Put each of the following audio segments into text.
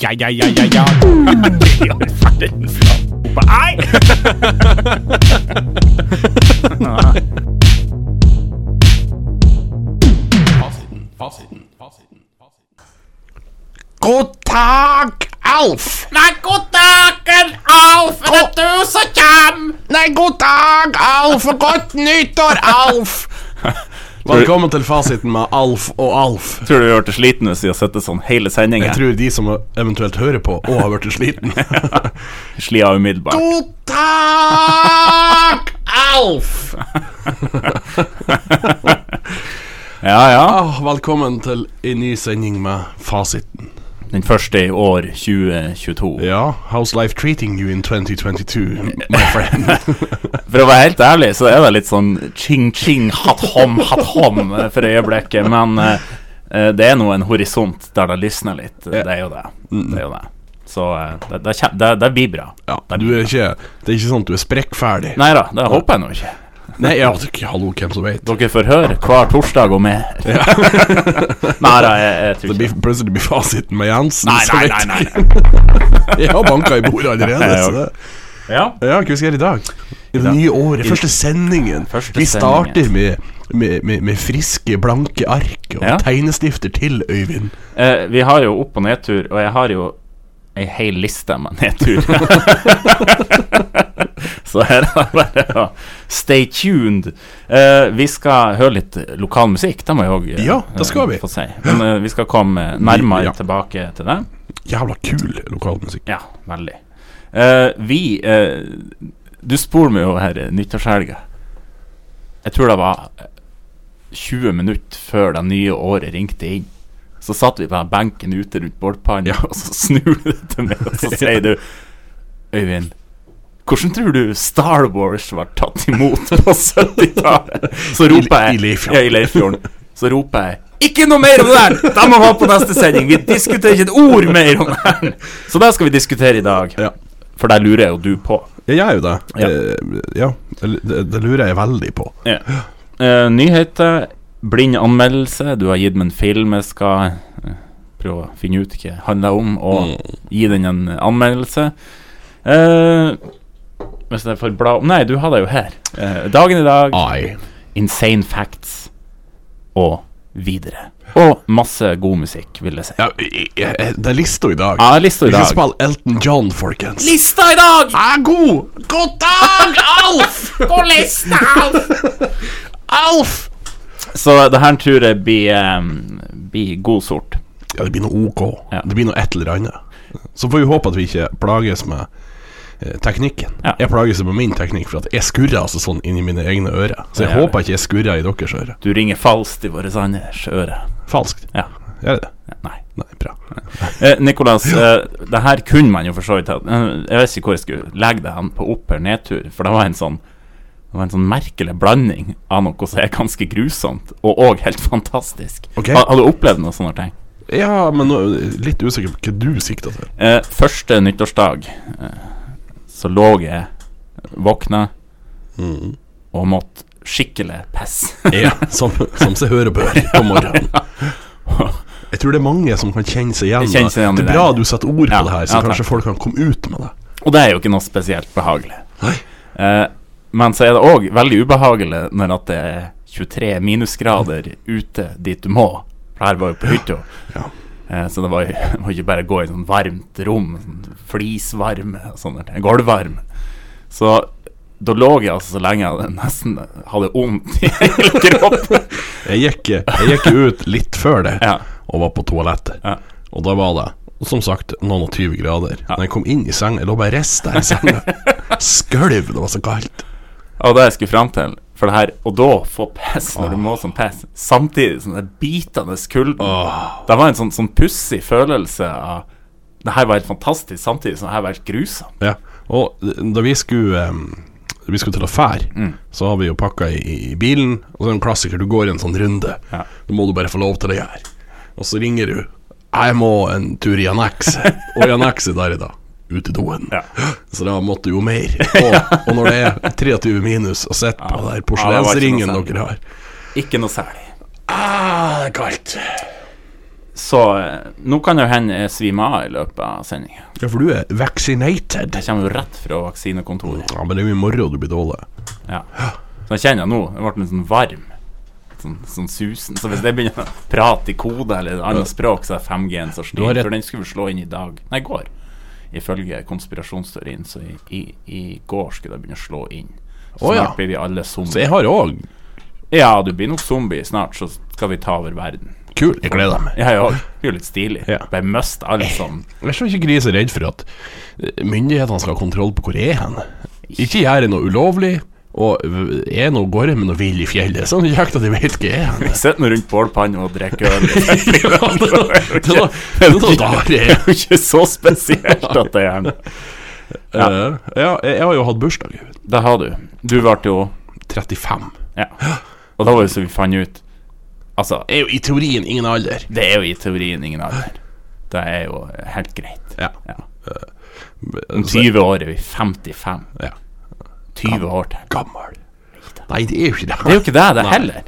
Ja, ja, ja, ja, ja. I all verdens land. Nei! Fasiten, fasiten, fasiten. fasiten. God dag, Alf. Nei, god dagen, Alf! Er det du som kjem? Nei, god dag, Alf, og godt nyttår, Alf. Velkommen til fasiten med Alf og Alf. Tror du du hørtes sliten ut i å sitte sånn hele sendinga? Jeg tror de som eventuelt hører på, òg har blitt sliten. Slia umiddelbart. God dag, Alf. Ja, ja. Ah, velkommen til en ny sending med Fasiten. Den første i år 2022. Ja, how's life treating you in 2022, my friend? For å være helt ærlig, så er det litt sånn ching-ching, hatt-hom, hatt-hom eh, for øyeblikket. Men eh, eh, det er nå en horisont der det lysner litt. Det er jo det. Mm. Det er jo det. Så eh, det, det, kjem- det, det blir bra. Ja, du er ikke, det er ikke sånn at du er sprekkferdig. Nei da, det håper jeg nå ikke. Nei, ja, det er ikke- hallo, hvem som vet? Dere får høre hver torsdag om mer. Nei da, jeg, jeg tror Det ikke blir plutselig blir fasiten med Jensen. Nei, så nei, vet nei, nei. Jeg Jeg har banka i bordet allerede. Så det. Ja. Ja, hva vi skal gjøre i dag? I det nye året, første sendingen. Første vi starter med, med, med, med friske, blanke ark og Ja. tegnestifter til Øyvind. Eh, vi har jo opp- og nedtur, og jeg har jo ei hel liste med nedtur. Så her er det bare å stay tuned. Eh, vi skal høre litt lokal musikk, det må jeg òg Ja, det skal vi. få si. Men eh, vi skal komme nærmere Ja. tilbake til det. Jævla kul lokalmusikk. Ja, veldig. Eh, vi eh, Du spor meg jo her eh, nyttårshelga. Jeg tror det var eh, 20 minutter før det nye året ringte inn. Så satt vi på den benken ute rundt bålpanna, og så snur du deg til meg, og så sier du Øyvind, hvordan tror du Star Wars var tatt imot på 70-tallet? Så roper jeg I- i Leirfjorden. Ja, i Leirfjorden. Så roper jeg ikke noe mer om det der! Da må vi ha på neste sending! Vi diskuterer ikke et ord mer om det her! Så det skal vi diskutere i dag. Ja. For det lurer jo du på. Jeg gjør jo det. Ja. Eh, ja. Det, det lurer jeg veldig på. Eh, nyheter, blind anmeldelse. Du har gitt meg en film jeg skal eh, prøve å finne ut hva det handler om, og gi den en anmeldelse. Eh, hvis jeg får bla om Nei, du har det jo her. Eh, dagen i dag, Ai. insane facts og videre. Og masse god musikk, vil jeg si. Ja, jeg- jeg- det er lista i dag. Ja, lista i Vi skal dag. Ah, spille Elton John, folkens. Lista i dag! er god! God dag, Alf! På lista, Alf! Alf! Så det her tror jeg blir, em, blir god sort. Ja, det blir noe OK. Ja. Det blir noe et eller annet. Så får vi håpe at vi ikke plages med eh, teknikken. Ja. Jeg plages jo med min teknikk, for at jeg skurrer altså sånn inni mine egne ører. Så Det jeg gjør håper ikke jeg skurrer i deres ører. Du ringer falskt i våre Anders øre. Falskt. Ja. Gjør jeg det? Nei. Nei, bra. Eh, Nikolas, eh, det her kunne man jo for så vidt ha eh, Jeg vet ikke hvor jeg skulle legge det hen, på opp- eller nedtur, for det var en sånn det var en sånn merkelig blanding av noe som er ganske grusomt, og òg helt fantastisk. Ok. Har, har du opplevd noe sånt? Arteng? Ja, men nå er jeg litt usikker på hva du sikter til. Eh, første nyttårsdag eh, så lå jeg våkna og måtte skikkelig pisse. Ja, som, som seg høre bør på morgenen. Jeg tror det er mange som kan kjenne seg igjen. Jeg kjenner seg igjen det i er bra det. du setter ord Ja, på det her, ja, så takk. kanskje folk kan komme ut med det. Og det er jo ikke noe spesielt behagelig. Nei. Eh, men så er det òg veldig ubehagelig når at det er 23 minusgrader ute dit du må. For her var jo på hytta. Ja. Eh, så det var jo det var ikke bare å gå i sånn varmt rom. Sånn flisvarme og sånne ting. Gulvvarme. Så da lå jeg altså så lenge jeg nesten hadde vondt i hele kroppen. Jeg gikk, jeg gikk ut litt før det, Ja. og var på toalettet. Ja. Og da var det som sagt noen og 20 grader. Når jeg kom inn i senga, jeg lå bare rista i senga. Skølv, det var så kaldt. Og det jeg skulle fram til for det her, Og da få pess når Ah. du må som pess, samtidig som den bitende kulden Det var en sånn, sånn pussig følelse av Det her var helt fantastisk, samtidig som det her var helt grusomt. Ja. Og da vi skulle em, Vi skulle til å fære, Mm. så har vi jo pakka i, i bilen. Og så er det en klassiker, du går en sånn runde. Ja. Da må du bare få lov til det her. Og så ringer du. Jeg må en tur i annekset. Og i annekset der i dag. Ut i doen. Ja. Så da måtte jo mer. Og, og når det er 23 minus og sitter på den der Ja, det var ikke noe porselensringen særlig. dere har Ikke noe særlig. ah, Det er kaldt. Så eh, nå kan det jo hende jeg svimer av i løpet av sendinga. Ja, for du er vaccinated. Jeg kommer jo rett fra vaksinekontoret. Ja, men det er jo i morgen du blir dårlig. Ja. Så jeg kjenner nå Jeg ble litt sånn varm. Sånn, sånn susen. Så hvis jeg begynner å prate i kode eller et annet språk, så er 5G-en så Du stiv. har rett. For den skulle slå inn i dag. Nei, i går. Ifølge konspirasjonsteorien, så i, i, i går skulle det begynne å slå inn. Å, ja. Snart blir vi alle Så jeg zombier. har òg Ja, du blir nok zombie snart, så skal vi ta over verden. Kul. Jeg gleder meg. Jeg òg. Det er jo litt stilig. Ja. Bare mist alle som Jeg tror ikke Gris er redd for at eh, myndighetene skal ha kontroll på hvor jeg er hen. Ikke gjør jeg noe ulovlig, og v- er nå gårde med noe vill i fjellet. Sånn kjekt at jeg vet hvor jeg er hen. sitter nå rundt bålpanna og drikker øl. Det er noe- det er noe- det er noe rar jeg er. Det er jo ikke så spesielt at det er den. Eh, Ja, jeg jeg har jo hatt bursdag. Det har du. Du ble jo 35. Ja. Og da var det så vi fant ut Altså, Er jo i teorien ingen alder. det er jo i teorien ingen alder. Det er jo helt greit. Ja. Ja. Om 20 år er vi 55. Ja. 20 år til. gammel. Nei, det er jo ikke det. Det er jo ikke det, det heller.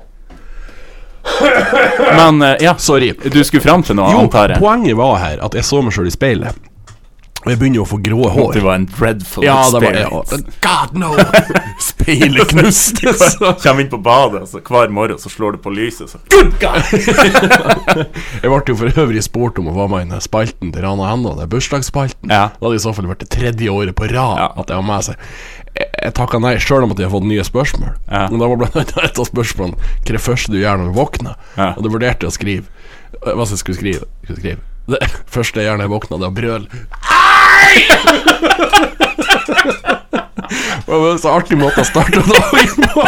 Men eh, ja, Sorry. du skulle fram til noe, Jo, antar jeg? poenget var her at jeg så meg sjøl i speilet, og jeg begynner jo å få grå At hår. det var en dreadful Ja, det var det. experience. ja. God no! Speilet knustes. Kjem inn på badet, så hver morgen så slår du på lyset, så Good God! Jeg ble jo for øvrig spurt om å være med i den spalten til Rana Henna, den bursdagsspalten. Ja. Det hadde i så fall vært det tredje året på rad Ja. at jeg var med. seg Jeg, jeg takka nei, sjøl om at jeg har fått nye spørsmål. Ja. Men da var blant annet et av spørsmålene hva er det første du gjør når du våkner. Ja. Og det vurderte jeg å skrive. Eh, Hva skal jeg skulle skrive? Skulle skrive. Det første jeg gjør når jeg våkner, det er å brøle. Det var en så artig måte å starte dagen på.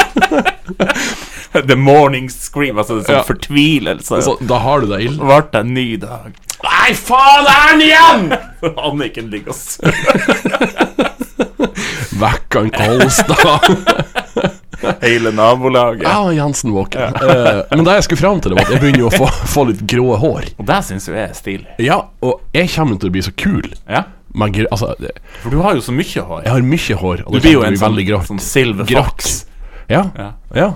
The morning scream, altså det er sånn Ja. fortvilelse. Så Altså, Da har du deg ille. Ble det en ny dag? Nei, faen, er han igjen?! Anniken ligger og sover. Vekk han Kolstad. Hele nabolaget. Ja, Jensen våken. Eh, men det jeg skulle fram til, det var at jeg begynner jo å få, få litt grå hår. Og det syns jo jeg er stilig. Ja, og jeg kommer til å bli så kul. Ja. Men gr altså, det- For du har jo så mye hår. jeg har mye hår. Og Du det blir jo en kommer sånn, til å bli veldig grått. sånn silver fox. Ja, Ja. ja.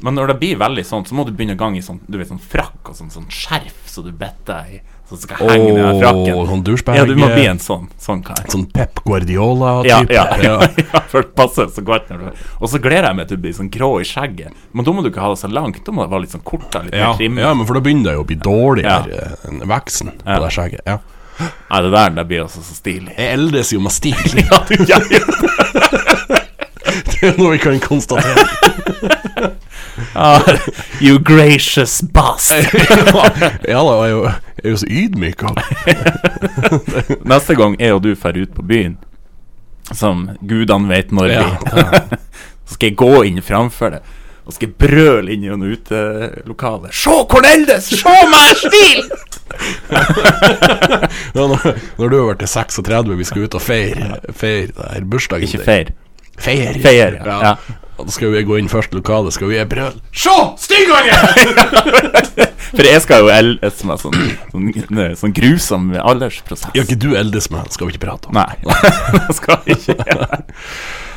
Men når det blir veldig sånn, så må du begynne å gange i sånn, du vet, sånn frakk og sånn, sånn skjerf så du bitter i, så skal henge ned Åh, frakken. sånn douchebag. Ja, du må bli en sånn, sånn kar. Sånn Pep Guardiola-type. Ja, ja, ja, for det passer så godt. Når du, og så gleder jeg meg til du blir sånn grå i skjegget. Men da må du ikke ha det så langt, da må det være litt sånn kort da, litt Ja, mer trim. ja, men for da begynner det jo å bli dårligere enn veksten på det skjegget. Ja. Nei, det der det blir altså så stilig. Jeg eldes jo med stil, Ja, du gjør jo det. det er noe vi kan konstatere. Ah, You gracious bastard. Ja da, jeg er jo, jeg er jo så ydmyk. og- Neste gang jeg og du drar ut på byen, som gudene vet når Ja. blir, så skal jeg gå inn framfor det. Og skal jeg brøle inn gjennom utelokalet. Se Corneldes! Se meg stil! Ja, når, når du har vært til 36, vi skal ut og feire, feire det her bursdagen Ikke feir. Feier. Feier, ja. Ja. Og Da skal vi gå inn først i lokalet, skal vi gi brøl. Se! Styggungen! For jeg skal jo eldes med sånn, sånn, ne, sånn grusom aldersprosess. Ja, ikke du eldes med, skal vi ikke prate om. Nei, det skal jeg ikke gjøre.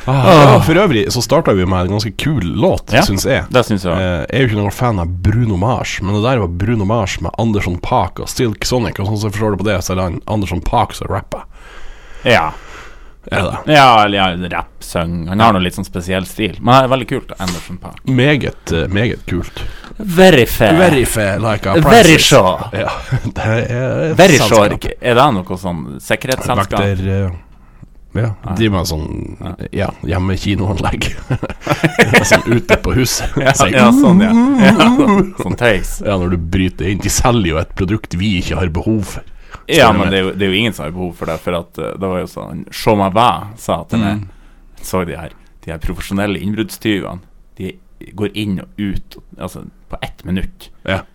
Ja, for øvrig så starta vi med en ganske kul låt, Ja, syns jeg. det syns jeg også. Eh, jeg er jo ikke noen fan av Bruno Mars, men det der var Bruno Mars med Andersson Paak og Silk Sonic, og sånn som jeg forstår det på det, så er det han Andersson Paak som rapper. Ja, Er det? ja eller ja, rapp, søng Han har nå litt sånn spesiell stil. Men det er veldig kult. Anderson Park. Meget, eh, meget kult. Very fair. Very fair, like a princess. Eh. Very sure. Ja, det er et Very selskap. sure. Er det noe sånn sikkerhetsselskap? Vakter eh, Ja, de med sånn ja, hjemme kinoanlegg. sånn ute på huset. Ja, Så jeg- ja, sånn, ja. ja sånn tøys. Ja, når du bryter inn. De selger jo et produkt vi ikke har behov for. Ja, men det er, jo, det er jo ingen som har behov for det, for at eh, det var jo sånn Se meg hva, sa til meg. Så de her, de her profesjonelle innbruddstyvene, de går inn og ut altså, på ett minutt. Ja.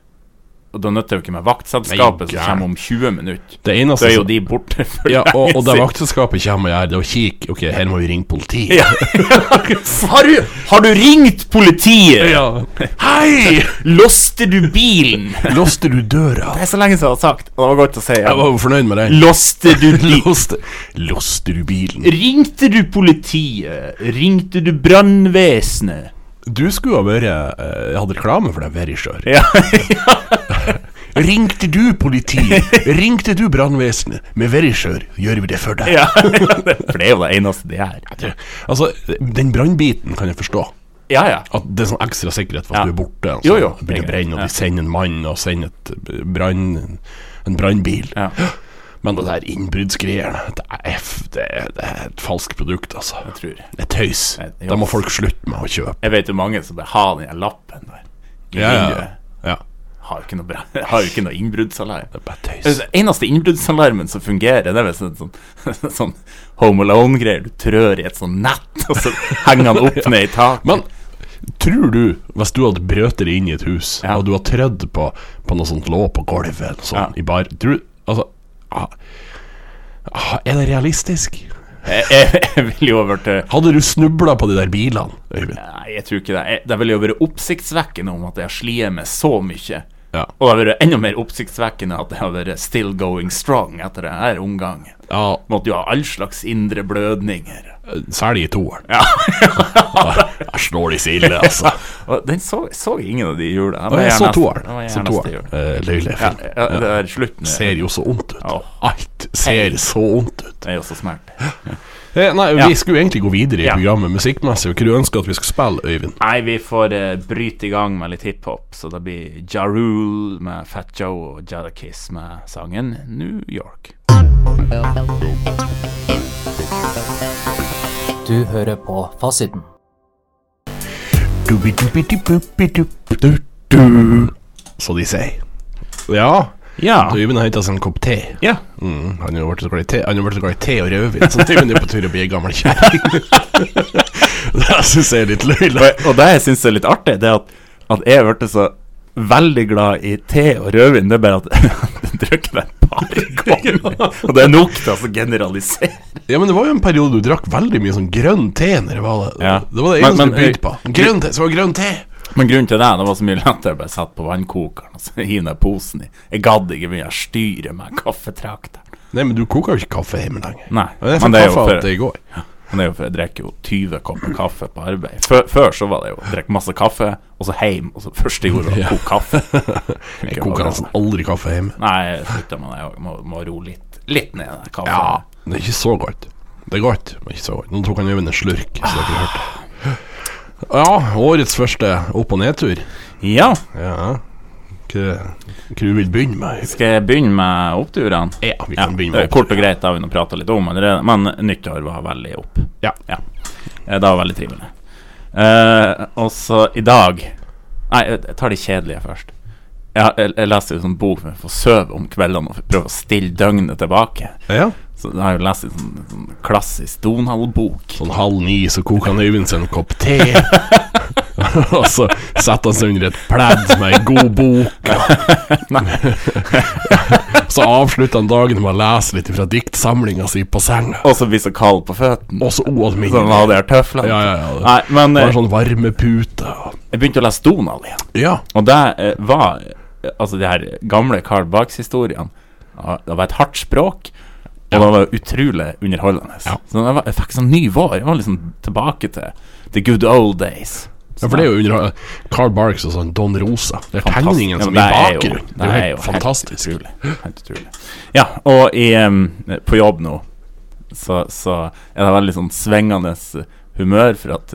Og da nytter det jo ikke med Nei, vaktselskapet som gæren. kommer om 20 minutter. Det eneste Da er jo som- de borte for Ja, og, og det lenge vaktselskapet kommer og gjør det, og kikker Ok, her må vi ringe politiet. Ja. har, du, har du ringt politiet? Ja. Hei! Låste du bilen? Låste du døra? Det er så lenge siden jeg har sagt, og det var godt å si. Jeg var Ja. jo fornøyd med den. Låste du bilen? Låste, låste du bilen? Ringte du politiet? Ringte du brannvesenet? Du skulle ha vært eh, Jeg hadde reklame for deg, Verisure. Ja. Ringte du politiet? Ringte du brannvesenet? Med Verisjør gjør vi det for deg. Ja, for det er jo det eneste det er. Det- Altså, den brannbiten kan jeg forstå. Ja, ja. At det er sånn ekstra sikkerhet for Ja. at du er borte. Altså, Jo, jo. Det Begynner å brenne, og de sender en mann og sender et eh, brann en brannbil. Ja. Men det der innbruddsgreiene, det, er f- det, er- det er et falskt produkt, altså. Jeg tror Det er tøys. Jeg- Da må folk slutte med å kjøpe. Jeg vet jo mange som bare har den der lappen der. I vinduet. ja. Har jo ikke noe, bra- har jo ikke noe innbruddsalarm. Det er bare tøys. Den eneste innbruddsalarmen som fungerer, det er visst en sånn, sånn Home Alone-greier. Du trør i et sånt nett, og så henger han opp ned i taket. Men tror du, hvis du hadde brøt deg inn i et hus, Ja. og du hadde trødd på, på noe sånt lå på gulvet eller sånn, Ja. i bar Tror du Altså ah, ah, Er det realistisk? Jeg, jeg, jeg vil jo ha vært eh, Hadde du snubla på de der bilene, Øyvind? Nei, jeg tror ikke det. Jeg, det ville jo vært oppsiktsvekkende om at jeg har slitt med så mye. Ja. Og det har vært enda mer oppsiktsvekkende at jeg har vært still going strong etter denne omgangen. ja. Måtte jo ha all slags indre blødninger. Særlig i toeren. Jeg slår de silde, altså. Og den så, så ingen av de jula. Og jeg så Det var toeren. jeg Så neste toeren. jul. Eh, Ja, Løylefen. ja, det er slutten. Ser jo så ondt ut. Ja. Alt ser så ondt ut. Det er jo så smert. Eh, Nei, Ja. vi skulle egentlig gå videre i Ja. programmet musikkmessig. Hva du ønsker at vi skal spille, Øyvind? Nei, vi får eh, bryte i gang med litt hiphop, så det blir Ja Rule med Fat Joe og Jada Kiss med sangen New York. Du hører på Fasiten. Du-bi-du-bi-du-bi-du-du-du. Så de sier. Ja. Ja. Øyvind har henta seg en kopp te. ja. Mm, han har jo vært så glad i te Han har vært så glad i te og rødvin, så Øyvind er på tur å bli ei gammel kjerring. det syns jeg er litt løgn. Og det jeg syns er litt artig, det er at, at jeg ble så veldig glad i te og rødvin. Det er bare at jeg drikker det et par ganger. Og det er nok til å generalisere. Ja, men det var jo en periode du drakk veldig mye sånn grønn te. Når det, var det. Ja. det var det Men- eneste men, du begynte på. Øy- Grønn te, så var det grønn te. Men grunnen til det, det var så mye lettere å bare sette på vannkokeren og så hive ned posen i. Jeg gadd ikke begynne å styre med kaffetrakteren. Nei, men du koker jo ikke kaffe hjemme lenger. Nei, Men men jeg fikk det er jo kaffe for- av det i går. Men det er jo for jeg drikker jo 20 kopper kaffe på arbeid. Før, før så var det jo drikke masse kaffe, og så hjem, og så første jeg gjorde var å koke kaffe. Jeg koker nesten aldri kaffe hjemme. Nei, jeg slutta med det. Jeg må, må roe litt, litt ned den kaffen. Ja, det er ikke så godt. Det er godt, men ikke så godt. Nå tok han Øyvind en slurk, så dere hørte. Ja, årets første opp- og nedtur. Ja, Ja. Hva hva du vil begynne med? Øyvind? skal jeg begynne med oppturene? Ja, vi Ja, kan begynne det er med kort og greit, det har vi nå prata litt om allerede, men nyttår var veldig opp. Ja. Eh, Det var veldig trivelig. Eh, og så i dag Nei, jeg tar de kjedelige først. Jeg, jeg, jeg leste jo sånn bok for å sove om kveldene og prøve å stille døgnet tilbake. Ja. Så jeg har jo lest en sånn, sånn klassisk Donald-bok. Sånn halv ni så koker han Øyvind seg en kopp te. og så setter han seg under et pledd med ei god bok. så avslutter han dagen med å lese litt fra diktsamlinga si på senga. Og så blir så kald på føttene. Også ualminnelig. Sånn hadde jeg tøflene. Ja, ja, ja. sånn- Nei, men Bare eh, sånn varmepute og jeg begynte å lese Donald igjen. Ja. Og det eh, var eh, Altså, de her gamle Carl Barks-historiene ah, Det var et hardt språk, og det var utrolig underholdende. Ja. Så jeg, var, jeg fikk sånn ny vår. Jeg var liksom tilbake til the good old days. Ja, for det er jo under Carl Barks og sånn Don Rosa. Det er Fantastisk. tegningen Ja, som men er i det er jo- bakgrunnen. Det er jo helt helt fantastisk. utrolig. Helt utrolig. Ja, og i, em, på jobb nå så, så er det veldig sånn svingende humør for at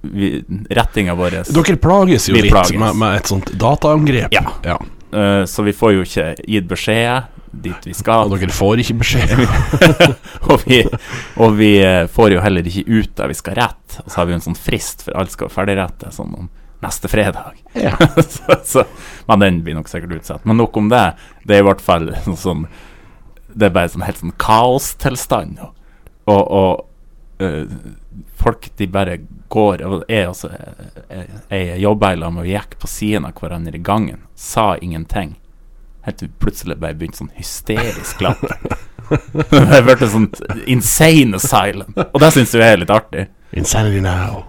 vi, rettinga vår Dere plages jo Vi litt plages. Med, med et sånt dataangrep. Ja. ja. eh, Så vi får jo ikke gitt beskjed dit vi Og skal. dere får ikke beskjed. Og vi, og vi eh, får jo heller ikke ut der vi skal rett. Og så har vi jo en sånn frist for alt skal ferdigrette sånn om neste fredag. Ja. så, så, men den blir nok sikkert utsatt. Men nok om det. Det er i hvert fall sånn- sånn Det er bare sånn helt sånn kaostilstand. nå. Og, og eh, folk, de bare går Og jeg også eh, Jeg, jeg jobba i lag med og gikk på siden av hverandre i gangen. Sa ingenting. Helt til plutselig bare begynte sånn hysterisk latter. det ble sånn insane asylum. Og det syns jo jeg er litt artig. Insanity now.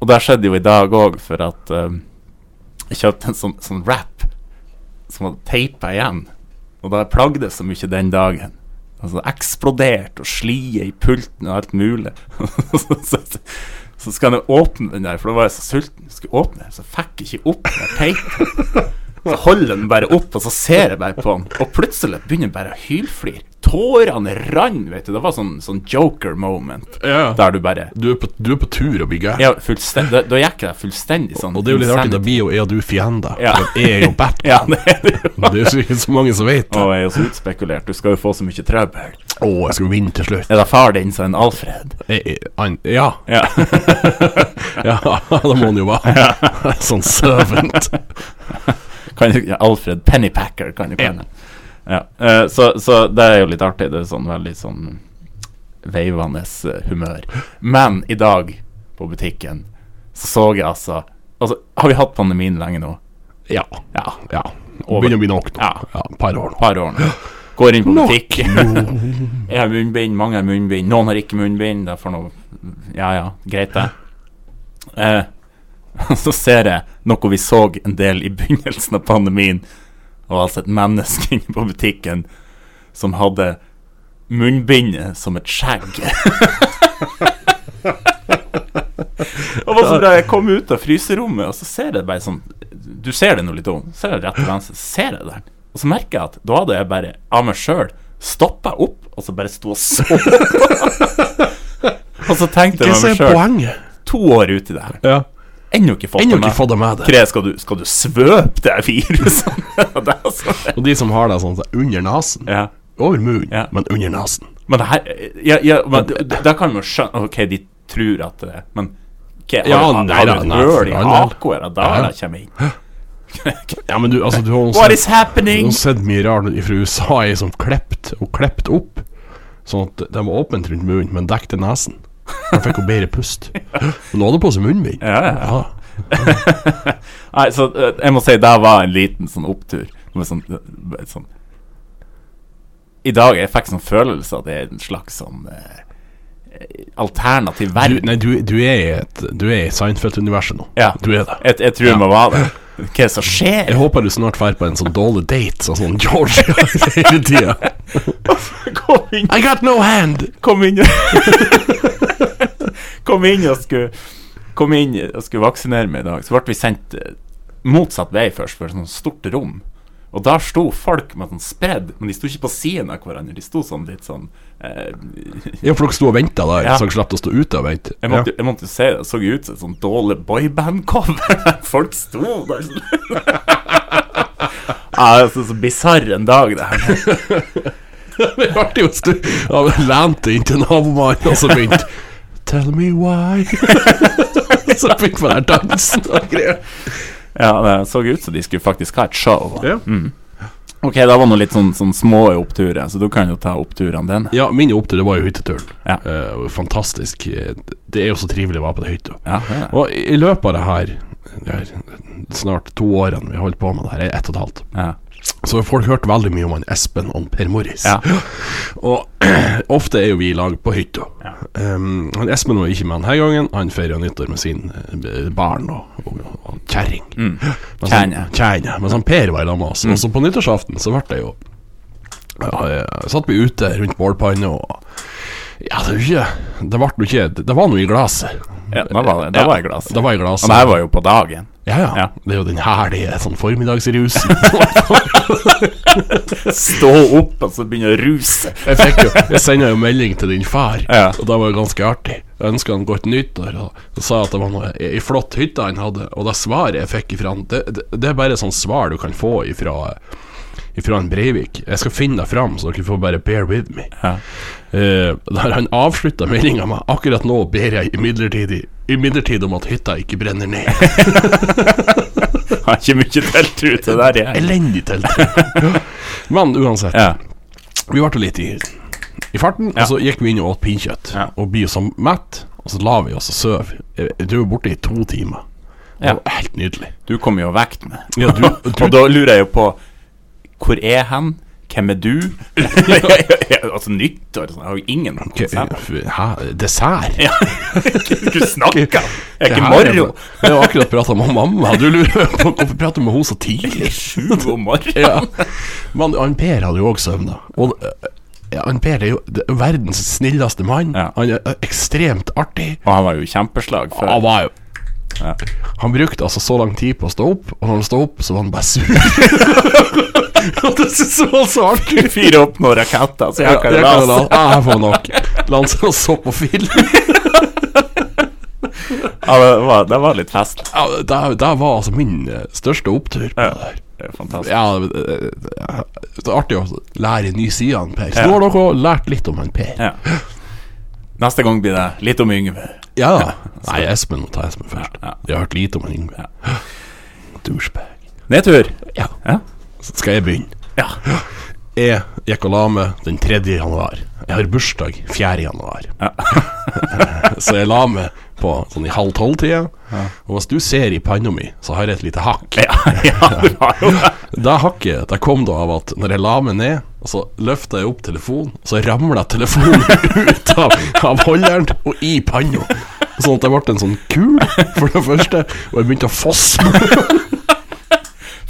Og det skjedde jo i dag òg, for at eh, jeg kjøpte en sånn, sånn wrap som hadde teipa igjen. Og da jeg plagde så mye den dagen. Altså det eksploderte og slie i pulten og alt mulig. så, så, så, så skal jeg åpne den der, for da var jeg så sulten. Jeg skulle åpne, så fikk jeg ikke opp den der teipen. Så holder den bare opp, og så ser jeg bare på han. Og plutselig begynner jeg bare å hylflire. Tårene rant, vet du. Det var sånn, sånn joker moment. Ja. Der du bare Du er på, du er på tur og blir gæren. ja, fullsten- da, da gikk jeg fullstendig sånn Og det er jo litt artig, da insanity. blir jo jeg og du fiender. Ja. For Jeg er jo Batman. Ja, det er det jo. Det er jo sikkert så mange som vet det. Og jeg er jo så utspekulert. Du skal jo få så mye trøbbel. Å, jeg skal vinne til slutt. Er det far din som er en Alfred? Jeg, jeg, han, ja. Ja. ja, da må han jo være sånn servant. kan, du- ja, Alfred Pennypacker kan du kalle ja. eh, så, så det er jo litt artig. Det er sånn veldig sånn veivende eh, humør. Men i dag, på butikken, så så jeg altså Altså, har vi hatt pandemien lenge nå? Ja. Ja. ja. Over. Begynner å bli nok nå. Ja. Ja, et par år nå. par år nå. Går inn på butikk. jeg har munnbind, mange har munnbind. Noen har ikke munnbind. Det er for noe Ja ja, greit det. Eh, så ser jeg noe vi så en del i begynnelsen av pandemien. Det var altså et menneske inne på butikken som hadde munnbindet som et skjegg. Det var så bra. Jeg kom ut av fryserommet, og så ser jeg det bare sånn Du ser det nå litt om. Ser jeg rett til venstre, så ser jeg det der. Og så merker jeg at da hadde jeg bare av meg sjøl stoppa opp, og så bare sto og så på. og så tenkte Hva jeg med meg er sjøl, poenget? to år ut i det her, Ja. ennå ikke fått Ennå det ikke med. fått det med deg. Kre, skal du, skal du svøpe det her viruset? det er altså- Og de som har det sånn så under nesen. ja. Over munnen, Ja. men under nesen. Men det her ja, ja, men, det- det- Der kan man jo skjønne Ok, de tror at det Men okay, har, Ja, har, nei har da, du nei, et øl i for all del. akkurat Ja. der det kommer inn? Ja, men du, altså, du har jo What sett- is happening? Jeg har sett mye rart fra USA ei som klept og klept opp, sånn at de var åpent rundt munnen, men dekket nesen. De fikk jo bedre pust. Men nå hadde på seg munnbind. Ja, ja, ja. Nei, så eh, jeg må si det var en liten sånn opptur. Med sånn, eh, sånn I dag jeg fikk sånn følelse at det er en slags sånn eh, alternativ Du, verden. nei, du, du er i et Du er i Seinfeld-universet nå. Ja. Du er det. Jeg, jeg tror man var det. Hva er det som skjer? Jeg håper du snart drar på en sånn dårlig date, sånn som George gjør hele tida. Kom inn, I got no hand! kom inn Kom inn og skulle Kom inn og skulle vaksinere meg i dag. Så ble vi sendt eh, motsatt vei først, for et sånt stort rom. Og der sto folk med sånn spredd, men de sto ikke på siden av hverandre. De sto sånn litt sånn eh, Ja, for dere sto og venta der, Ja. så dere slapp å stå ute og vente. Jeg måtte, jeg måtte jo si det, det så jo ut som et sånt dårlig boyband-cover. Folk sto der sånn. Ja, det er så, så bisarr en dag, det her. Det ble jo en stund ja, men Lente inn til nabomannen Og så begynte Tell me why Så begynte man der dansen og greier Ja, det så ut som de skulle faktisk ha et show. Ja. Mm. Ok, da var nå litt sånn, sånn små oppturer, så du kan jo ta oppturene dine. Ja, min opptur det var jo hytteturen Ja. Eh, Fantastisk Eh, Det er jo så trivelig å være på det hytta Ja, det er det. Og i i løpet av det her det her Snart to årene vi har holdt på med det her Ett og et halvt ja. Så har folk hørt veldig mye om han Espen og han Per Morris Ja. Og ofte er jo vi i lag på hytta um, han Espen var ikke med denne gangen Han feirer nyttår med sin eh, barn og, og, og kjæring Mm. Men sånn- Kjerne. Mm. Kjerne. Men sånn Per var i lag med oss. Og så på nyttårsaften så ble det jo ja, jeg Satt vi ute rundt bålpanna og Ja, det, var ikke, det ble jo ikke Det var noe i glasset. ja da var, det, da var jeg glad. Det var i glasset. Og det her var jo på dagen. ja, ja, Ja. Det er jo den herlige sånn formiddagsrusen. Stå opp, og så begynne å ruse. jeg fikk jo Jeg sender jo melding til din far, Ja. og det var jo ganske artig. Jeg ønska han godt nyttår, og sa at det var noe ei flott hytte han hadde. Og det svaret jeg fikk ifra han, det, det, det er bare sånn svar du kan få ifra Ifra en Breivik. Jeg skal finne deg fram, så dere får bare bear with me. Ja. Eh, der han avslutta meldinga med 'Akkurat nå ber jeg imidlertid imidlertid om at hytta ikke brenner ned'. Har ikke mye telttur til det der, jeg. Elendig telttur. Men uansett. Ja. Vi ble litt i, i farten, og så gikk vi inn og åt pinnekjøtt. Ja. Og ble jo så mett, og så la vi oss og sov. Eh, Du var borte i to timer. Det Ja. var helt nydelig. Du kom jo vekt med. Ja, du, Og da lurer jeg jo på Hvor er han? Hvem er du? altså nyttår sånn. Jeg har jo ingen konsept. Hæ? Dessert? Ja. Du snakker! Jeg er Det ikke her moro. Jeg har akkurat prata med mamma. Du lurer på hvorfor prater du med henne så tidlig? Sju om morgenen. Ja. Men han Per hadde jo òg søvna. Og eh, ja, han Per er jo det- verdens snilleste mann. Ja. Han er eh, ekstremt artig. Og han var jo i kjempeslag før. Han var jo Han brukte altså så lang tid på å stå opp, og når han stod opp, så var han bare sur. Og det synes jeg var så artig. Fyre opp noen raketter, så jeg Ja, kan jeg kan la lese. Ja, jeg får nok. La han så- så på film. Ja, det var, det var litt fest. Ja, det, det var altså min eh, største opptur. på Ja, det her. det er fantastisk. Ja, det, det, det er artig å lære en ny side av han Per. Så Ja. nå har dere lært litt om han Per. Ja. Neste gang blir det litt om Yngve. Ja. Nei, Espen må ta Espen først. Ja. Jeg har hørt lite om han Yngve. Douchebag. Nedtur. Ja. Ja. Så skal jeg begynne. Ja. Jeg gikk og la meg den 3. januar. Jeg har bursdag 4. januar. så jeg la meg på sånn i halv tolv-tida. Og hvis du ser i panna mi, så har jeg et lite hakk. Ja, ja, du har jo det. Det hakket det kom da av at når jeg la meg ned, og så løfta jeg opp telefonen, og så ramla telefonen ut av, av holderen og i panna. Sånn at jeg ble en sånn kul, for det første, og jeg begynte å fosse.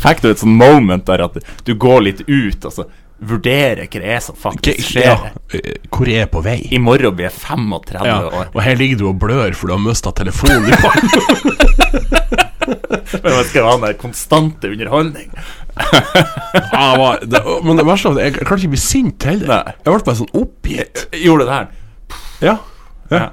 Fikk du et sånn moment der at du går litt ut, altså vurderer hva det er som faktisk Ja, skjer? eh, hvor er jeg på vei? I morgen blir jeg 35 Ja, år. og her ligger du og blør, for du har mista telefonen i panna. Men man skal ha den der konstante underholdning. Ja, det var, det, men det verste var at jeg klarte ikke å bli sint heller. Nei. Jeg ble bare sånn oppgitt. Gjorde det her. Ja.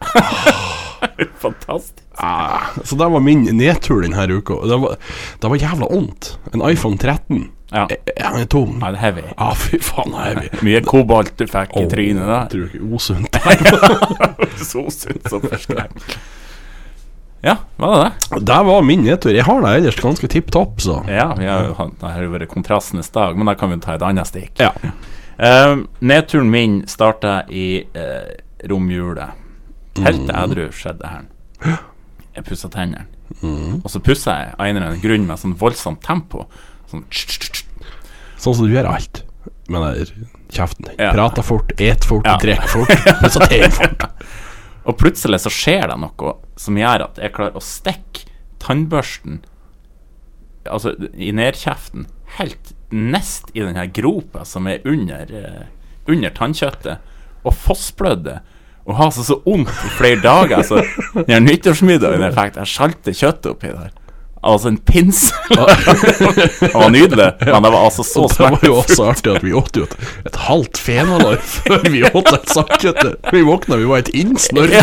Fantastisk. Ah. Så det var min nedtur denne uka. og Det var, det var jævla vondt. En iPhone 13. Ja. Eh, eh, Han er tung. Ja, det er heavy. Ja, fy faen, han er heavy. Mye kobolt du fikk i Åh, trynet der. Tror du ikke osunt der? Så sunt som forskrekk. Ja, var det det? Det var min nedtur. Jeg har det ellers ganske tipp topp, så. Ja, vi har jo hatt- det har jo vært kontrastenes dag, men da kan vi ta et annet stikk. Ja. Eh, nedturen min starta i uh, romjula. Helt edru skjedde det her. Jeg pussa tennene. Og så pussa jeg av en eller annen grunn med sånn voldsomt tempo. Sånn tsk, tsk, tsk. Sånn som du gjør alt. Med den der kjeften din. Ja. Prater fort, et fort, Ja. drikker fort. Men så tar jeg fort. Og plutselig så skjer det noe som gjør at jeg klarer å stikke tannbørsten Altså i nedkjeften helt nest i den her gropa som er under, eh, under tannkjøttet, og fossblødde. Og har altså så vondt i flere dager. Altså, den her nyttårsmiddagen jeg fikk, jeg sjalte kjøttet oppi der. Altså en pinsel. det var nydelig, men det var altså så Det var jo smertefullt. også artig at vi åt jo et, et halvt fenalår før vi åt et sakkete. Vi våkna, vi var et innsnørr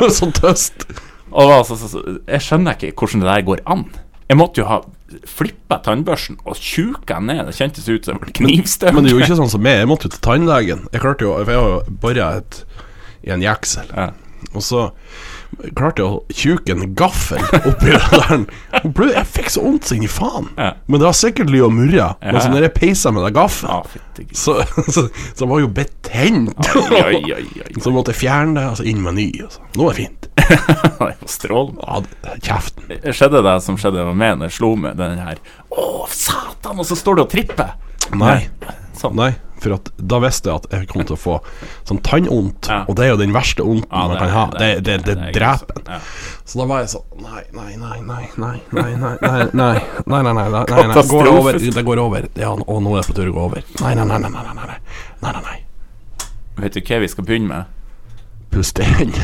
og sånn tøst. Og det var altså, så, så, jeg skjønner ikke hvordan det der går an. Jeg måtte jo ha flippa tannbørsten og tjuka den ned. Det kjentes ut som knivstøv. Men det er jo ikke sånn som meg. Jeg måtte jo til tannlegen. Jeg klarte jo For jeg har jo bora et i en jeksel. Ja. Og så klarte jeg å tjuke en gaffel oppi det der. Og ble- Jeg fikk så vondt som inni faen. Ja. Men det var sikkert lyd og murre. Men så når sånn jeg peisa med den Ja, gaffelen, Ah, fytti gris. så, så, så var jeg jo betent. Oi, oi, oi, oi. Så måtte jeg fjerne det, og så inn med ny. og så. Nå er det fint. Det var strålende. Ja, det- kjeften. Skjedde det som skjedde med meg når jeg slo med den her Å, satan! Og så står du og tripper! Nei. Sånn. Nei, for at da visste jeg at jeg kom til å få sånn tannvondt, Ja. og det er jo den verste vondten Ja, man det- kan ha. Det, det- det, det, det- det er dreper grusomt, ja. en. Så da var jeg sånn Nei, nei, nei, nei, nei, nei, nei, nei, nei, nei, nei, nei, nei, nei, det går over. Katastrofisk. Det går over. Ja, og nå er det på tur å gå over. Nei, nei, nei, nei, nei, nei, nei, nei, nei, nei. Vet du hva vi skal begynne med? Pust inn.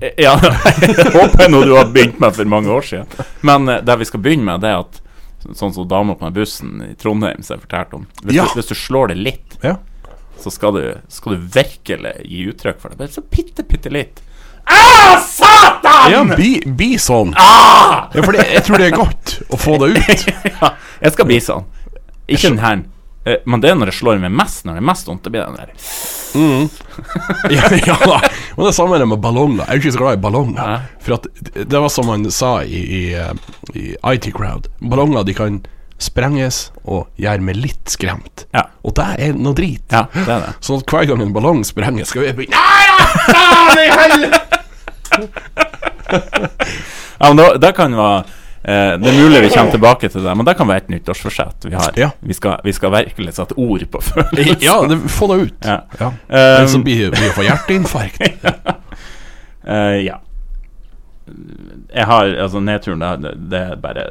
Eh, Ja, jeg håper nå du har begynt med for mange år siden. Men eh, det vi skal begynne med, det er at så- sånn som dama på den bussen i Trondheim som jeg fortalte om Hvis, Ja. du, hvis du slår det litt, Ja. så skal du, skal du virkelig gi uttrykk for det. Bare så bitte, bitte litt. Ah, satan! Ja, bli, bli sånn. Ah! Ja, for det, jeg tror det er godt å få det ut. ja, jeg skal bli sånn. Ikke den her. Eh, Men det er når det slår meg mest, når det er mest vondt, det blir den der. ja, ja da. Og det samme er det med ballonger. Jeg er ikke så glad i ballonger. For at det var som han sa i, i, eh, i IT Crowd. Ballonger de kan sprenges og gjøre meg litt skremt. Ja. Og det er noe drit. Ja, det er det. Sånn at hver gang en ballong sprenges, skal vi begynne Ja, men da, da kan være eh, Det er mulig vi kommer tilbake til det, men det kan være et nyttårsforsett vi har. Ja. Vi, skal, vi skal virkelig sette ord på følelser. Ja, det, få det ut. Ja. Ja. Um, Ellers så blir vi får hjerteinfarkt. Eh, ja. Jeg har Altså, nedturen, da, det, det er bare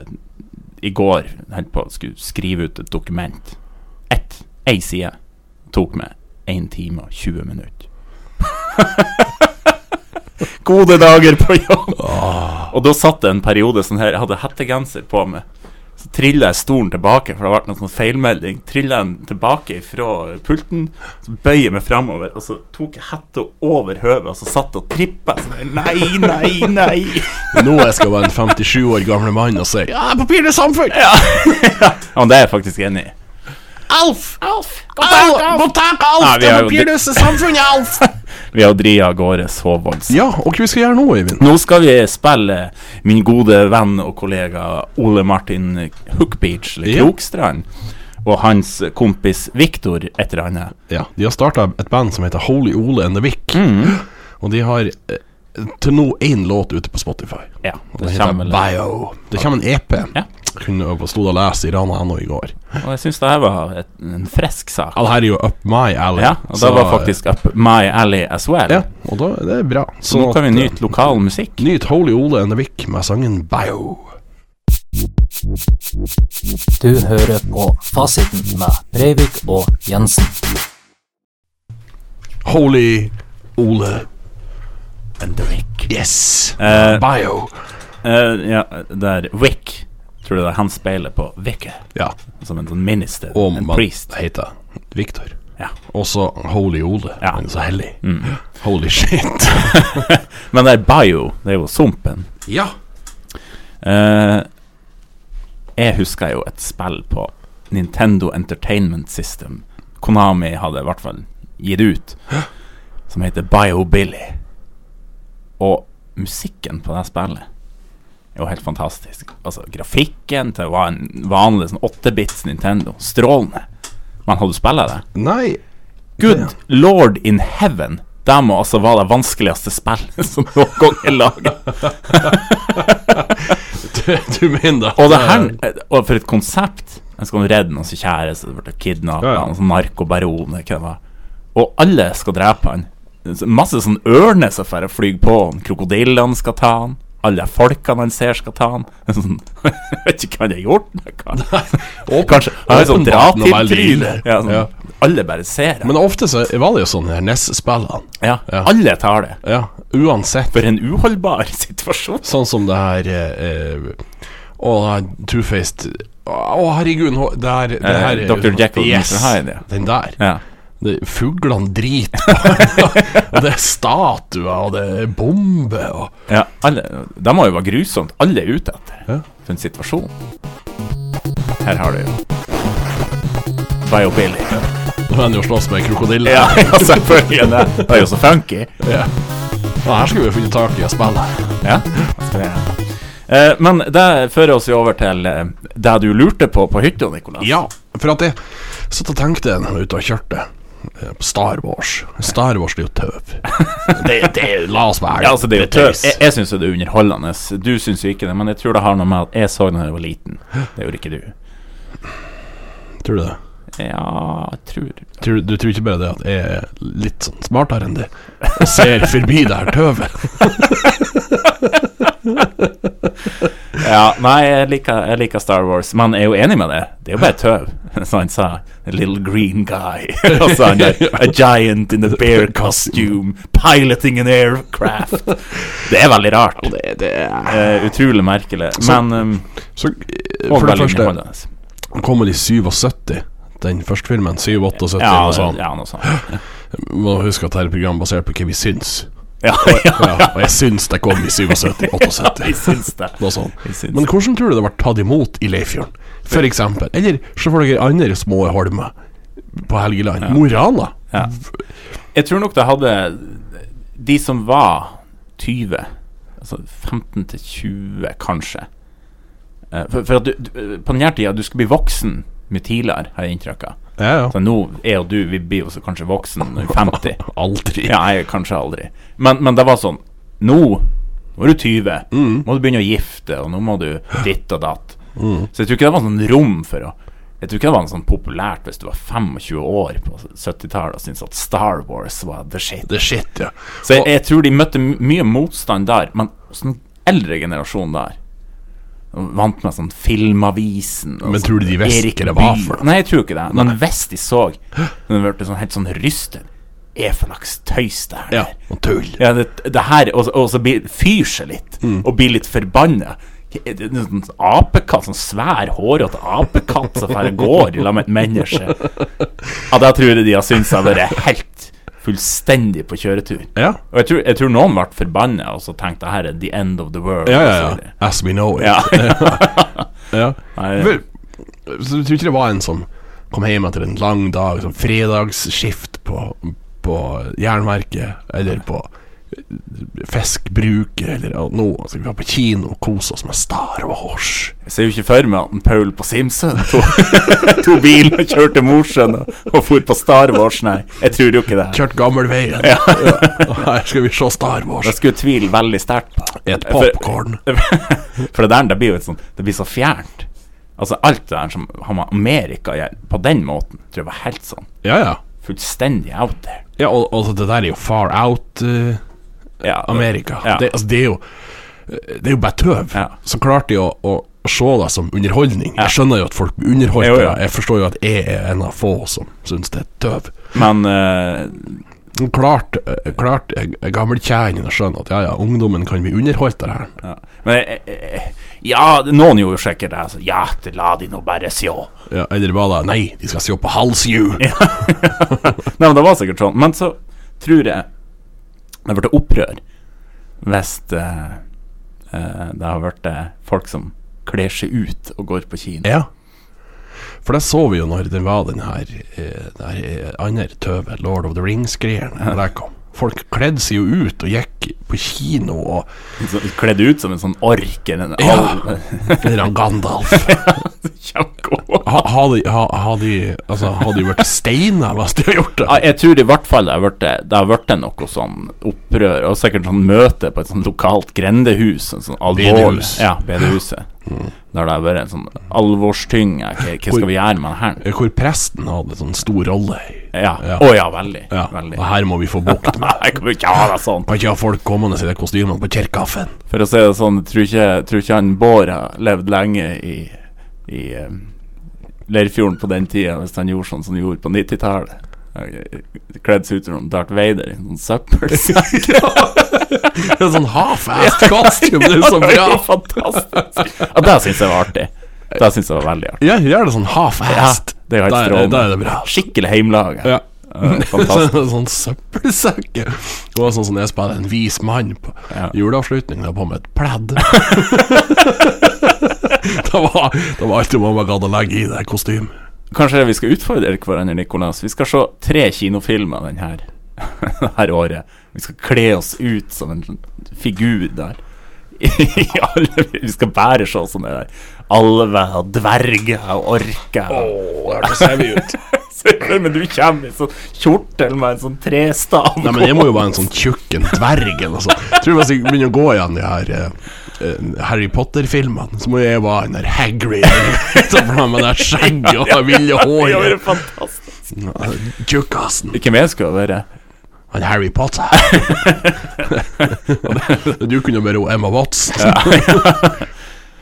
I går holdt på å skulle skrive ut et dokument. Ett. Ei side. Tok meg 1 time og 20 minutter. gode dager på jobb. Og da satt det en periode sånn her, jeg hadde hettegenser på meg. Så trilla jeg stolen tilbake, for det har vært noen sånn feilmelding. Trilla jeg den tilbake fra pulten, så bøyer jeg meg framover, og så tok jeg hetta over høvet, og så satt jeg og trippa. Sånn her, nei, nei, nei. Nå jeg skal være en 57 år gamle mann og si Ja, papir er samfunn! Ja. Ja, men det er jeg faktisk enig i. Alf! Al- Gå tak, Alf! Nei, vi har det er jo- papirløse samfunnet, Alf! Vi har dritt av gårde så voldsomt. ja, og hva vi skal gjøre nå, Øyvind? Nå skal vi spille min gode venn og kollega Ole Martin Hookbeach eller Ja. Krokstrand og hans kompis Viktor et eller annet. Ja, De har starta et band som heter Holy Ole and the Vic. Mm. Og de har eh, til nå én låt ute på Spotify. Ja, Og det den heter kommer vel- Bio. Det kommer en EP. Ja. Jeg kunne stå og lese i Rana NO i går. Og jeg syns det her var et, en frisk sak. Ja, det her er jo up my alley. Ja, og så- det var faktisk up my alley as well. Ja, og da det er bra. Så nå kan vi at, eh, nyte lokal musikk. Nyt Holy Ole and the Vic med sangen Bio. Du hører på Fasiten med Breivik og Jensen. Holy Ole and the Vic. Yes. Eh, Bio. eh, ja, der Wick Tror du det er han speiler på Wicket? Ja. Som en sånn minister, Og en man priest. heter Victor. Ja. Og så Holy Ole. Ja. Mm. Han er så hellig. Holy shit. Men det er Bio, det er jo sumpen. ja. Eh, jeg husker jo et spill på Nintendo Entertainment System. Konami hadde i hvert fall gitt ut, som heter BioBilly. Og musikken på det spillet er jo helt fantastisk. Altså, grafikken til var en vanlig sånn 8-bits Nintendo. Strålende. Men har du spilt det? Nei. Good Lord in Heaven. Det må altså være det vanskeligste spillet som noen gang er laga. Du, du mener at eh, Og det her Og for et konsept En skal redde noen sin kjæreste Det ble kidnappet Ja, ja. Han sånn narkobaron eller hva det var. Og alle skal drepe han Så Masse sånn ørne som får flyg på han Krokodillene skal ta han alle folkene han ser skal ta han sånn, Jeg vet ikke hva han har gjort men hva- åpen- Kanskje Han har sånn åpenbart noe veldig dra-til-tryne ille. ja, sånn, Ja. Alle bare ser han Men ofte så var det jo sånn her NES-spillene. ja, ja. Alle tar det Ja, uansett. For en uholdbar situasjon Sånn som det her eh, eh, Å, det her two-faced Å, herregud, nå- det her, det Eh, her er jo Dr. sånn- Jekyll og Mr. Yes, Hyde, ja. Den der. Ja Det- Fuglene driter på Og det er statuer, og det er bomber og Ja, alle, det må jo være grusomt. Alle er ute etter. Ja. For en situasjon. Her har du jo Biobilly. Nå er han jo slåss med en krokodille. Ja, ja, selvfølgelig. Det Det er jo så funky. Ja. Og her skulle vi funnet tak i å spille. Ja. skal jeg- Eh, Men det fører oss jo over til eh, det du lurte på på hytta, Nikolas. Ja, for at jeg satt og tenkte når jeg var ute og kjørte eh, på Star Wars. Star Wars det er jo tøv. det, det, la oss være Eh, Ja, altså det er jo tøys. tøys. Jeg, jeg syns jo det er underholdende. Du syns jo ikke det, men jeg tror det har noe med at jeg så den da jeg var liten. Det gjorde ikke du. Tror du det? Ja, jeg tror Tror, du- du tror ikke bare det at jeg er litt sånn smartere enn det, og ser forbi det her tøvet? Ja, nei, jeg liker, jeg liker Star Wars, men jeg er jo enig med det. Det er jo bare tøv. Så han sa A little green guy. Og så han der A giant in a bear costume piloting an aircraft. Det er veldig rart. Det, det er Eh, utrolig merkelig. Men um, Så eh, og for det veldig første underholdende. kommer de 77, den første filmen. 77 Ja, og sånn. ja, noe sånt. Må huske at dette er et program basert på hva vi syns. Ja, ja, Ja, og jeg syns det kom i 77-78. jeg syns det. Noe sånt. Jeg syns Men hvordan tror du det ble tatt imot i Leifjorden, for eksempel? Eller så får dere andre små holmer på Helgeland. Mo i Rana. Ja. Jeg tror nok det hadde De som var 20, altså 15 til 20 kanskje Eh, For, for at du, du, på denne tida du skulle bli voksen mye tidligere, har jeg inntrykk av. Ja, ja. Så nå er jo du Vi blir jo så kanskje voksen når vi er 50. Aldri. Ja, jeg er kanskje aldri. Men, men det var sånn Nå nå er du 20. Må du begynne å gifte, og nå må du ditt og datt. Så jeg tror ikke det var sånn rom for å Jeg tror ikke det var sånn populært hvis du var 25 år på 70-tallet og syntes at Star Wars var the shit. Det er shit, ja. Så jeg, jeg tror de møtte my- mye motstand der, men sånn eldre generasjon der Vant med sånn Filmavisen og Men sånn tror du de visste Erik hva det var Bye. for noe? Nei, jeg tror ikke det. Men hvis de så, så ble de sånn helt sånn rystet. er for slags tøys, det her? Ja, og tull. Ja, det, det her, og, og så blir, fyr seg litt, Mm. og blir litt forbanna. Er det en sånn apekatt, sånn svær, hårete apekatt som bare går i lag med et menneske. Ja, da tror jeg de har syntes jeg har vært helt fullstendig på kjøretur. Ja. Og jeg tror, jeg tror noen ble forbanna og så tenkte det her er the end of the world. Ja, og ja, så ja. videre. As we know it. ja. Ja. Nei. Vel, Så du tror ikke det var en som kom hjem etter en lang dag, sånn fredagsskift på, på jernverket, eller på fiskbruket, eller at nå skal vi være på kino og kose oss med Star Wars. Jeg ser jo ikke for meg at en Paul på Simpson tok to biler og kjørte til Mosjøen og, og for på Star Wars, nei. Jeg tror jo ikke det. Kjørt gammelveien. Ja. Og her skal vi se Star Jeg Wars. skulle tvile veldig sterkt på Et For- popkorn. For det der det blir jo et sånt Det blir så fjernt. Altså Alt det der som har med Amerika å gjøre, på den måten, tror jeg var helt sånn Ja, ja. fullstendig out there. ja og, og det der er jo far out. eh, Ja, Amerika. Ja. Det, altså, det er jo eh, Det er jo bare tøv. Ja. Så klart de å, å se det som underholdning. Jeg skjønner jo at folk blir underholdt. Jo, jo. av det. Jeg forstår jo at jeg er en av få som syns det er tøv. Men eh, Men Klart, eh, klart eh, gammelkjerringene skjønner at ja, ja, ungdommen kan bli underholdt av det her. ja. Men eh, eh, Ja, noen gjorde jo sikkert det. Altså, ja, det la de nå bare sjå. Ja, eller var det Nei, de skal se på halshjul! Nei, men det var sikkert sånn. Men så tror jeg det ble opprør hvis eh, eh, det har blitt folk som kler seg ut og går på kino. Ja. For det så vi jo når den var den her, eh, den her eh, andre tøve Lord of the Rings-greien. når det kom. Folk kledde seg jo ut og gikk på kino og Så- Kledd ut som en sånn ork eller en Ja. alv. Eller han Gandalf. Kjempegod. Ha- Har de, ha, har de Altså, har de vært steiner hvis de har gjort det? Ja, jeg tror i hvert fall det har vært, det har vært noe sånn opprør, og sikkert sånn møte på et sånn lokalt grendehus. En sånn alvorlig, Bedehus. ja, bedehuset. Der det har vært en sånn alvorstynge. Hva, hva skal vi gjøre med det her? Hvor presten hadde en sånn stor rolle. i- Ja. Å ja. veldig. Ja, veldig. og her må vi få bukt med Jeg kan jo ikke ha det sånn. Kan ikke ha folk kommende i de kostymene på kirkeaffen. For å si det sånn, jeg tror ikke, jeg tror ikke han Bård har levd lenge i, i eh, Leirfjorden på den tida, hvis han gjorde sånn som han gjorde på 90-tallet. Kledd seg ut som Darth Vader i en sånn søppelsekk. En sånn half-assed costume, det er så Det var bra! jo fantastisk. Ja, det syns jeg var artig. Det syns jeg var veldig artig. Ja, gjør det sånn half-assed. det er jo helt Da strålende. da er det bra. Skikkelig heimelaga. Ja. Eh, fantastisk. Sånn- sånn søppelsekk. Det var sånn som jeg spilte en vis mann på Ja. juleavslutningen da på med et pledd. det, var, det var alt mamma gadd å legge i det kostymet. Kanskje vi skal utfordre hverandre, Nikolas. Vi skal se tre kinofilmer den her, det her året. Vi skal kle oss ut som en figur der. I alle, vi skal bare se sånn det der. Alver og dverger og orker. men du kommer i sånn kjortel med en sånn trestav. Nei, men jeg må jo være en sånn tjukk en dverg eller noe sånt. Tror du hvis jeg begynner å gå igjen de her eh, eh, Harry Potter-filmene, så må jeg være en der Hagrid som får med det skjegget og det ville Det hadde vært håret. fantastisk. Tjukkasen. Hvem jeg skulle være? Han Harry Potter. du kunne vært hun Emma Watson.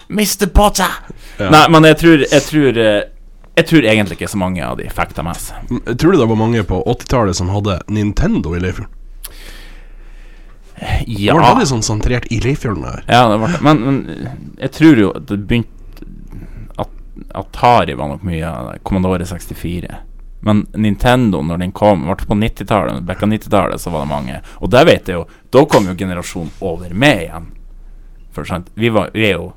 Mr. Potter! Nei, men jeg tror, jeg tror eh, Jeg tror egentlig ikke så mange av de fikk altså. det med seg. Tror du det var mange på 80-tallet som hadde Nintendo i Leirfjorden? Ja, Var det sånn sentrert i Leirfjorden? her? ja det var det. Men, men jeg tror jo at det begynte At Atari var nok mye av det. Commodore 64. Men Nintendo, når den kom, ble på 90-tallet, bekka 90-tallet, så var det mange. Og det vet jeg jo, da kom jo generasjonen over meg igjen. For sant, vi, var, vi er jo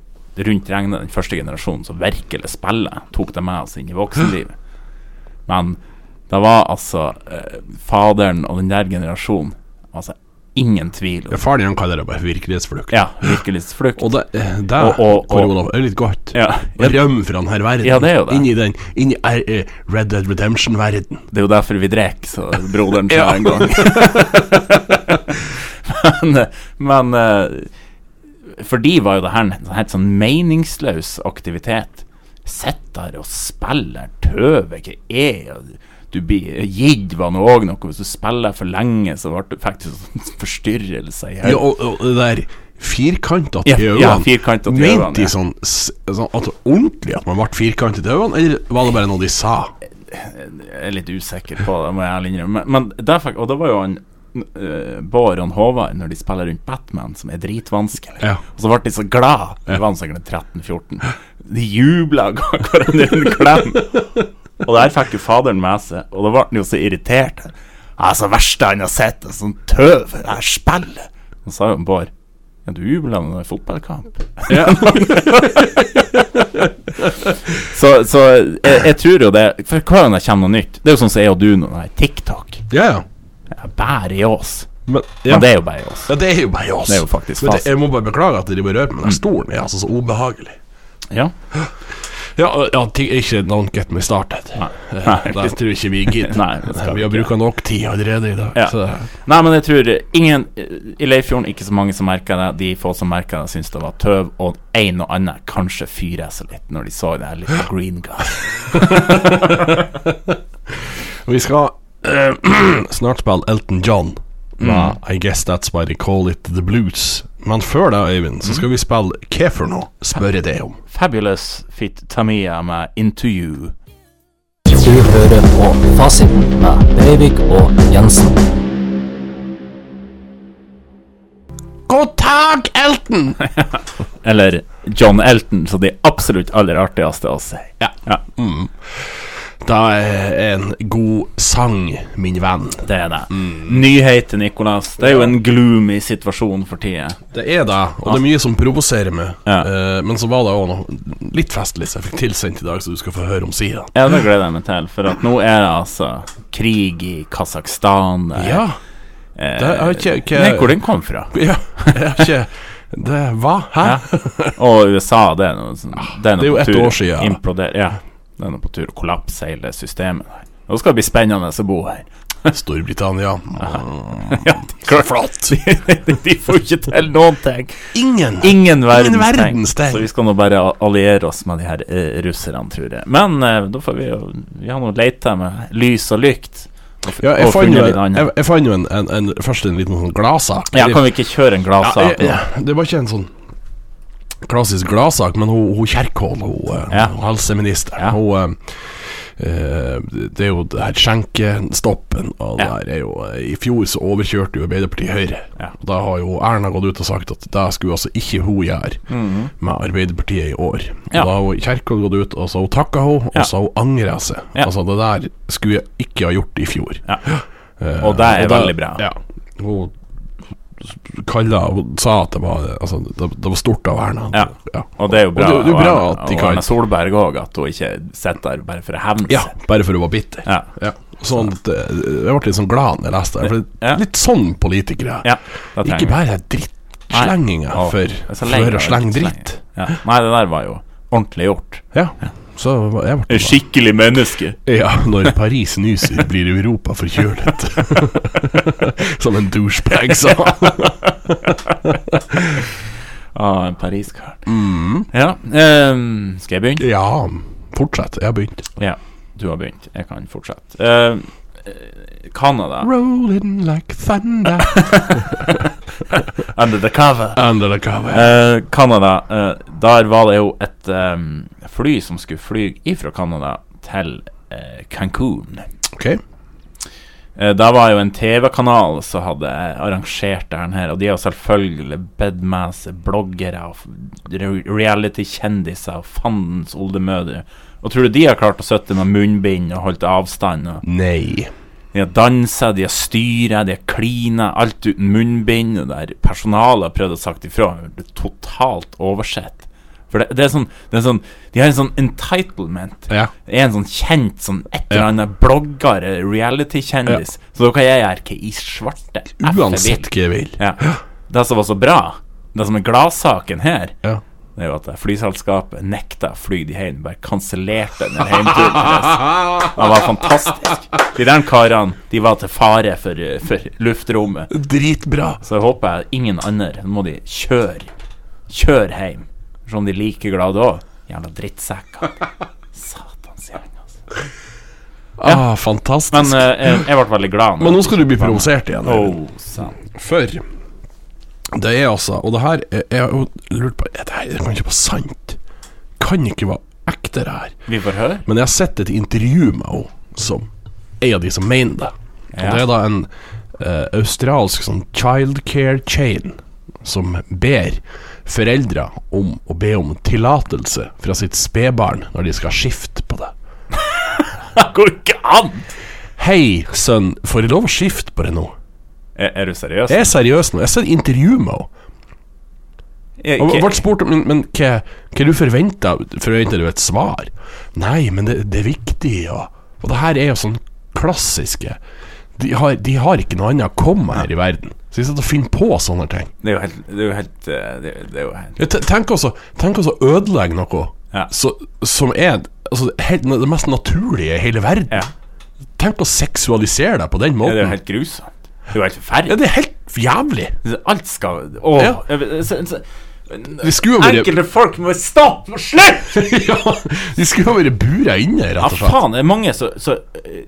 rundt regnet den første generasjonen som virkelig spiller, tok det med oss inn i voksenlivet. Men det var altså eh, faderen og den der generasjonen Altså, ingen tvil. Ja, Faren din kaller det bare virkelighetsflukt. Ja, virkelighetsflukt. Og det, eh, det Og- og- og- korona, er litt godt. Ja, Å rømme fra denne verden. Ja, det er jo det. Inn i den Inn i eh, eh, Red Dead Redemption-verden. det er jo derfor vi drikker, så broderen sa Ja. en gang. men eh, men eh, for de var jo det her en helt sånn meningsløs aktivitet. Sitt der og spiller tøve, hva er det? Du blir gidd var nå òg noe. Hvis du spiller for lenge, så ble du faktisk sånn forstyrrelse i Ja, og, og det der firkanta til Ja, ja, øynene. firkantet i Mente øynene, de ja. sånn, s- sånn altså, ordentlig at man ble firkantet i øynene, eller var det bare noe de sa? Jeg er litt usikker på det, må jeg ærlig innrømme. Men, men der fikk, og det var jo han eh, Bård og han Håvard, når de spiller rundt Batman, som er dritvanskelig. Ja. Og så ble de så glad De var sikkert 13-14. De jubla og ga hverandre en klem. Og der fikk jo faderen med seg, og da ble han jo så irritert. Altså, verste han har sett, er sånn tøv, det her spillet. Og så sa jo Bård Ja, du jubla når det er fotballkamp. Så, så jeg, jeg tror jo det For hver gang det kommer noe nytt Det er jo sånn som jeg og du nå, nei, TikTok. Ja, ja. Det er bare i oss. Men, ja. Men det er jo bare i oss. ja, det er jo bare oss. Det er jo faktisk Men det, fast. jeg må bare beklage at de bare røper med den stolen. er altså så ubehagelig. Ja. Ja, ja ti- ikke Don't get me started. Nei, Nei. Det tror jeg ikke vi gidder. Nei, det skal vi vi har ikke. bruka nok tid allerede i dag. Ja. Så, Nei, men jeg tror ingen I Leirfjorden ikke så mange som merka det. De få som merka det, syns det var tøv. Og en og annen kanskje fyra seg litt når de så det her lille green guy. vi skal eh, snart spille Elton John. Mm. Med I guess that's why they call it the blues. Men før det, Øyvind, så Mm. skal vi spille Hva for noe? spør jeg deg om. Fabulous fit Tamia med Into You. Du hører på Fasiten med Breivik og Jensen. God dag, Elton! Eller John Elton, så de absolutt aller artigste å si. Ja. Mm. Det er en god sang, min venn. Det er det. Mm. Nyheter, Nicolas. Det er jo en gloomy situasjon for tida. Det er det, og det er mye som provoserer meg. Ja. Eh, men så var det òg noe litt festlig som jeg fikk tilsendt i dag, så du skal få høre om sida. Ja, det gleder jeg meg til, for at nå er det altså krig i Kasakhstan. det er- Ja, eh, det har ikke- ikke- Nei, hvor den kom fra. ja, jeg har ikke Det Hva? Hæ? Ja. Og USA, det er noe sånn Det er, noe Ah, det er jo på ett tur å år siden, ja. Implodere, ja. Det er noe på tur å kollapse hele systemet der. Nå skal det bli spennende å bo her. Storbritannia. Ja, de, Flott! de, de får jo ikke til noen ting. Ingen! Ingen verdens, Ingen tegn. verdens tegn. Så vi skal nå bare a- alliere oss med de her eh, russerne, tror jeg. Men eh, da får vi jo Vi har nå leita med lys og lykt. Og, f- Ja, jeg og fant funnet jo, litt annet. jeg, jeg fant jo en, en, en, først en liten sånn gladsak. ja, kan vi ikke kjøre en Ja, gladsak jeg- nå? jeg- det var ikke en sånn klassisk gladsak, men hun, hun Kjerkol, hun, eh, Ja. hun helseminister Ja. Hun eh, eh, Det er jo det her skjenkestoppen, og det Ja. her er jo eh, I fjor så overkjørte jo Arbeiderpartiet Høyre. Ja. Og Da har jo Erna gått ut og sagt at det skulle altså ikke hun gjøre med Arbeiderpartiet i år. Og Ja. Da har hun Kjerkol gått ut, og så har hun takka hun, Ja. og så har hun angra seg. Ja. Altså, det der skulle jeg ikke ha gjort i fjor. Ja. Og det er da- veldig bra. Ja. Hun kalla Hun sa at det var Altså, det, det var stort av Erna. Ja. Og det er jo bra, Og det- det er bra og- at de og kan- Erna Solberg òg, at hun ikke sitter der bare for å hevne Ja, seg. bare for hun var bitter. Ja. Ja. Sånn at eh, Jeg ble litt sånn glad når jeg leste det. For det Ja. er litt sånn politikere. Ja, det trenger Ikke vi. bare drittslenginga Å, for, jeg er så lei for av å slenge drittslenging. dritt. Ja. Nei, det der var jo ordentlig gjort. Ja. Så jeg ble glad. skikkelig menneske. Ja, når Paris nyser, blir Europa forkjølet. Som en douchebag sa. Ah, en pariskar. Ja. ehm, skal jeg begynne? Mm. Ja, fortsett. Jeg har begynt. Ja, du har begynt. Jeg kan fortsette. Eh, eh, Canada. Rolling like thunder Under the cover. Under the cover. Eh, Canada. eh, der var det jo et eh, fly som skulle fly ifra Canada til eh, Cancún. Ok. Eh, Da var jo en TV-kanal som hadde eh, arrangert det her, og de har selvfølgelig bedt med seg bloggere og f- re- reality-kjendiser og fandens oldemødre. Og tror du de har klart å sitte med munnbind og holdt avstand? Og Nei. De har dansa, de har styra, de har klina, alt uten munnbind. Og der personalet har prøvd å sagt ifra. Det er totalt oversett. For det, det, er sånn, det er sånn De har en sånn entitlement. Ja. Det er en sånn kjent sånn et eller Ja. annet blogger, reality-kjendis. Så da kan jeg gjøre hva i svarte F jeg vil. Uansett hva jeg vil. Ja. Det som var så bra, det som er gladsaken her, Ja. det er jo at flyselskapet nekta å fly de hjem. Bare kansellerte den hjemturen deres. Det var fantastisk. De der karene de var til fare for, eh, for luftrommet. Dritbra. Så jeg håper jeg ingen andre Nå må de kjøre Kjøre hjem. Se om de er like glade òg. Jævla drittsekker. Satans gjerne, altså. Ah, fantastisk. Men Men, eh, jeg, jeg ble veldig glad. når- nå skal du bli provosert igjen. Åh, sant. For det er altså Og det her er- Jeg har jo lurt på er Det her det kan ikke være sant. Kan ikke være ekte, det her. Vi får høre. Men jeg har sett et intervju med henne. som en av de som mener det. Og Ja. Det er da en eh, australsk sånn childcare chain som ber foreldre om å be om tillatelse fra sitt spedbarn når de skal skifte på det. Det går ikke an! Hei, sønn, får jeg lov å skifte på det nå? Er, er du seriøs? Jeg er seriøs nå. Jeg ser intervju med henne. Jeg- Og ikke- ble spurt om Men, men hva, hva du forventa? Forventa du et svar? Nei, men det, det er viktig, og Og det her er jo sånn klassiske De har, de har ikke noe annet å komme med her i verden. Så de sitter og finner på sånne ting. det er jo helt Det er jo helt, eh, det er, det er jo helt Ja, te- Tenk også Tenk også å ødelegge noe Ja. så, som er altså, helt, det mest naturlige i hele verden. Ja. Tenk å seksualisere deg på den Ja, det er måten. jo helt grusomt. Det er jo helt forferdelig. Ja, det er helt jævlig. Alt skal Åh. Ja. jeg vet- så- så- De skulle jo vært Enkelte folk må stoppe og slutte! ja, De skulle jo vært bura inne, Ja, rett og slett. faen. Det er mange som så, eh,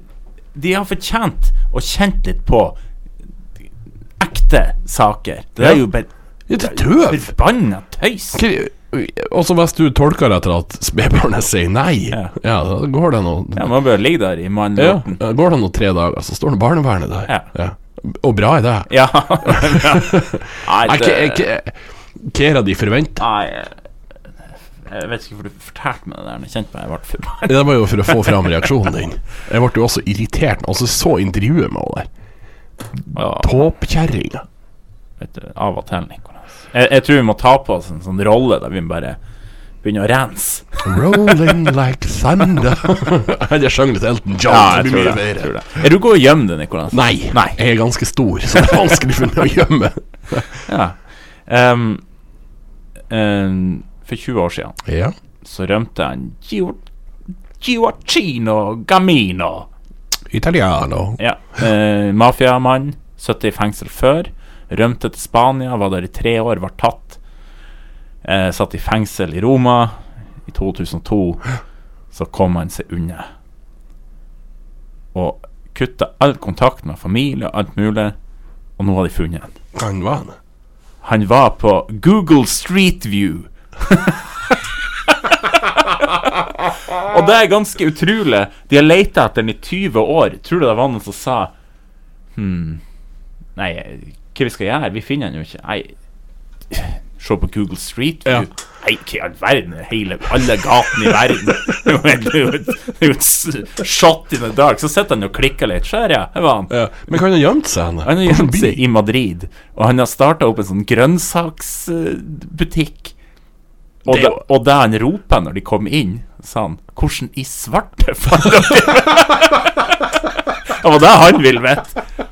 De har fortjent å kjent litt på ekte saker. Det er jo bare Ja, det er tøv. forbanna tøys. Hva- Og så hvis du tolker det etter at spedbarnet sier nei, ja. Ja. da går det nå Ja, man bør ligge der i ja, mannlåten. Går det nå tre dager, så står det barnevernet der. Ja. Og bra er det. Ja. ja. Nei, Jeg- jeg- det, jeg- Hva er det de forventer? nei, jeg vet ikke hvorfor du fortalte meg det der, men jeg kjente meg jeg ble forbanna. Det var jo for å få fram reaksjonen din. Jeg ble jo også irritert når jeg så intervjuet med henne der. Ja. Tåpkjerringa. vet du, av og til, Nicolas. Jeg, jeg tror vi må ta på oss en sånn rolle der vi bare begynner å rense. Rolling like thunder. Hadde jeg sunget litt Elton John, så blir mye bedre. Er du god å gjemme det, Nicolas? Nei, Nei. jeg er ganske stor, så det er vanskelig for meg å gjemme. Ja. Ehm, ehm, for 20 år siden Ja. så rømte han Gio- Gioacchino Gamino. Italiano. Ja. Eh, Mafiamann. Satt i fengsel før. Rømte til Spania, var der i tre år, var tatt. Eh, satt i fengsel i Roma. I 2002 så kom han seg unna. Og kutta all kontakt med familie og alt mulig, og nå har de funnet han. Kan være det. Han var på Google Street View. og det er ganske utrolig. De har leita etter den i 20 år. Tror du det var noen som sa Hm Nei, hva vi skal gjøre? Vi finner den jo ikke. Nei, se på Google Street View. Ja. Nei, hva i all verden? Hele, alle gatene i verden. Det er jo et- det er jo et det er jo et s- shot in the dark. Så sitter han og klikker litt. Se her, ja. Her var han. Ja, men kan han ha gjemt seg henne? Han har På en gjemt seg by? i Madrid, og han har starta opp en sånn grønnsaksbutikk. Og Det det, er jo- og det han roper når de kom inn, sa han 'Hvordan i svarte faen er dere?" Det var det han ville vite.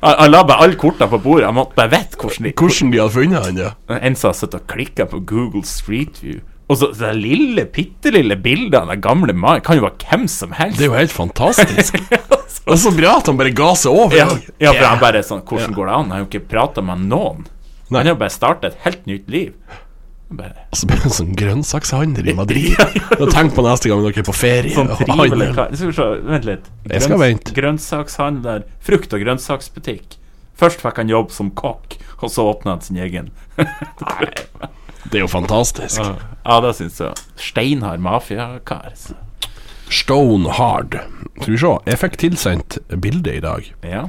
Han, han la bare alle kortene på bordet. Han måtte bare vite hvordan de Hvordan de hadde funnet han, ja. En som har sittet og klikka på Google Street View. Og så det lille, bitte lille bildet av den gamle mannen kan jo være hvem som helst. Det er jo helt fantastisk. Det er så bra at han bare ga seg over. Ja, ja for han bare er sånn Hvordan går det an? Han har jo ikke prata med noen. Han har jo bare starta et helt nytt liv. Han Bare, Og så blir det en sånn grønnsakshandel i Madrid. Da Tenk på neste gang dere er på ferie. sånn og trivelig handel. kar. Skal vi se, vent litt. Jeg skal vente. Grønnsakshandler. Frukt- og grønnsaksbutikk. Først fikk han jobb som kokk, og så åpna han sin egen. Det er jo fantastisk. ja, det syns jeg. Steinhard mafiakar. så- Stone hard. Skal vi se, jeg fikk tilsendt bilde i dag. Ja.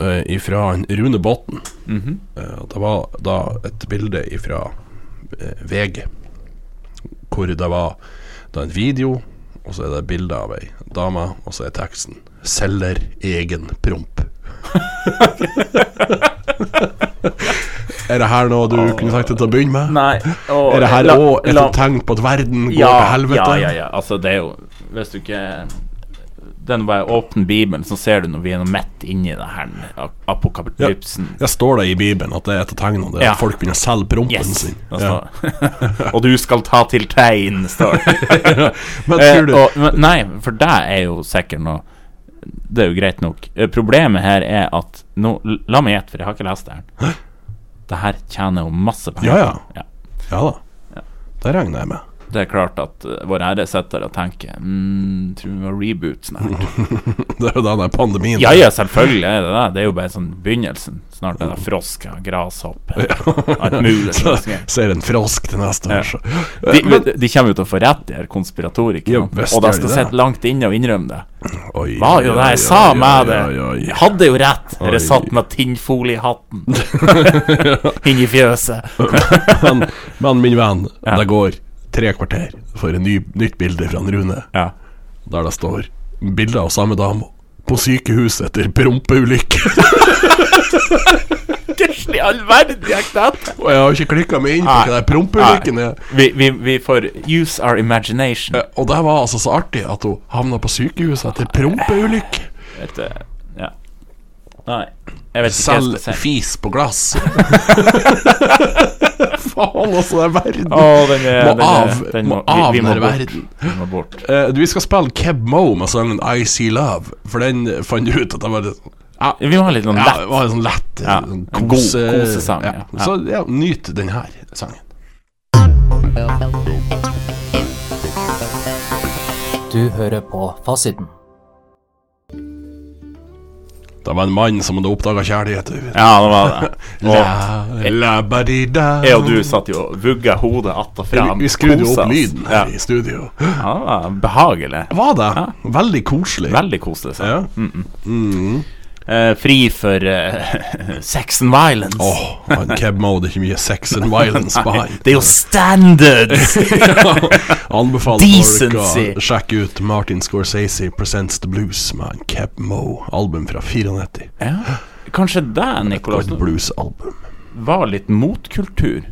eh, ifra en Rune Botten. Mhm. Eh, og det var da et bilde ifra eh, VG, hvor det var da en video, og så er det bilde av ei dame, og så er teksten 'Selger egen promp'. er det her noe du kunne sagt deg til å begynne med? Nei, og- Er det her la- òg et la- tegn på at verden går til ja, helvete? ja, ja, ja. Altså, det er jo Hvis du ikke Den bare åpner Bibelen, så ser du når vi er nå midt inni det her ap- apokalypsen. Der står det i Bibelen at det er et av tegnene, det er Ja. at folk begynner å selge prompen Yes. sin. Da står det. og du skal ta til tegn, står det. Men Eh, tror du og, men, nei, for det er jo sikkert noe Det er jo greit nok. Eh, Problemet her er at nå, La meg gjette, for jeg har ikke lest det her. Det her tjener jo masse penger. Ja, ja. Ja. Ja da. Det regner jeg med. Det er klart at eh, vår ære sitter der og tenker mm, Tror vi må reboot snart. Det er jo den der pandemien. Ja ja, selvfølgelig er det det. Det er jo bare sånn begynnelsen. Snart er det frosker, grashopper, alt mulig. Så sånne ting. ser en frosk til neste Ja. år, så De, men, de kommer jo til å få rett, de her konspiratorikerne. Ja, visst og de gjør de skal det. sitte langt inne og innrømme det. Oi, Hva jo det oi, jeg sa oi, med det? oi, oi, Jeg hadde jo rett. Oi. Dere satt med tinnfolie i hatten. Inn i fjøset. oi. Men, men min venn, Ja. det går tre kvarter for et ny, nytt bilde fra en Rune, Ja. der det står bilde av samme dame på sykehus etter prompeulykke. Hvordan i all verden gikk det? Og jeg har ikke klikka meg inn på Nei. hva den prompeulykken er. Vi, vi, vi får use our imagination. Eh, Og det var altså så artig at hun havna på sykehuset etter prompeulykke. Vet du, ja. Nei, jeg vet ikke hva Selv jeg skal si. fis på glass. Faen, altså, det er verden. Å, den er, Må den er, av- den må av vi, vi den må bort. verden. Vi må bort. Eh, du, vi skal spille Keb Mo med sangen I See Love, for den fant du ut at det var litt ja, Vi må ha litt sånn ja, det lett. var en sånn lett Ja, sånn en kose- god kosesang, ja. Ja. Så ja, nyt den her sangen. Du hører på Fasiten. Det var en mann som hadde oppdaga kjærlighet. du vet. Ja, det var det. Og La- la badida. jeg og du satt jo og vugga hodet att og Vi, fram. vi skrudde kosa opp oss. lyden Ja. her i studio. Ja, det var behagelig. Var det? Veldig koselig. Veldig koselig. Så. Ja. Mm. Eh, fri for eh, sex and violence. Åh, han Keb Mo, det er ikke mye sex and violence på Nei, han. det er jo standards! Anbefaler folk å Decency. sjekke ut Martin Scorsese Presents The Blues med en Cap Mo, album fra 94. ja. Kanskje det, Og Nicolas, et bluesalbum. var litt motkultur,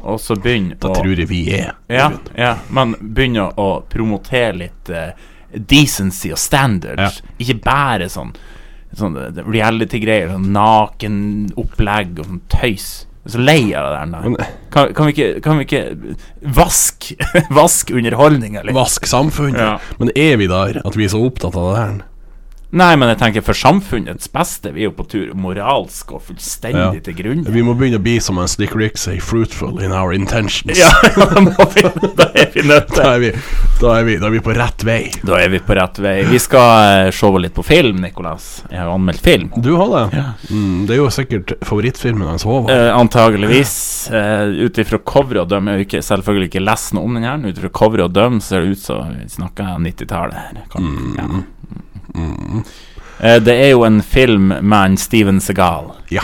og så begynne Det å tror jeg vi er. ja, ja, Men begynne å promotere litt eh, decency og standards. Ikke bare sånn, sånn eh, reality-greier, sånn nakenopplegg og sånn tøys. Jeg er Så lei av det der. nei. Men- Kan, kan, vi ikke, kan vi ikke Vask Vask underholdninga litt? Vask samfunnet. Ja. Men er vi der at vi er så opptatt av det her? Nei, men jeg tenker for samfunnets beste. Vi er jo på tur moralsk og fullstendig Ja. til grunne. Vi må begynne å bli som en Slick Rick sier, 'fruitful in our intentions'. Ja, da, må vi, da er vi nødt til Da, er vi, da, er vi, da er vi på rett vei. Da er vi på rett vei. Vi skal eh, se litt på film, Nicolas. Jeg har jo anmeldt film. Du har det? Mm, det er jo sikkert favorittfilmen hans, Håvard. Eh, antageligvis. Eh, ut ifra coveret å dømme, jeg har jo ikke, selvfølgelig ikke lest noe om den her, men ut ifra coveret å dømme ser det ut som vi snakker 90-tallet her. kan- Ja. Eh, det er jo en film med en Steven Segal, Ja.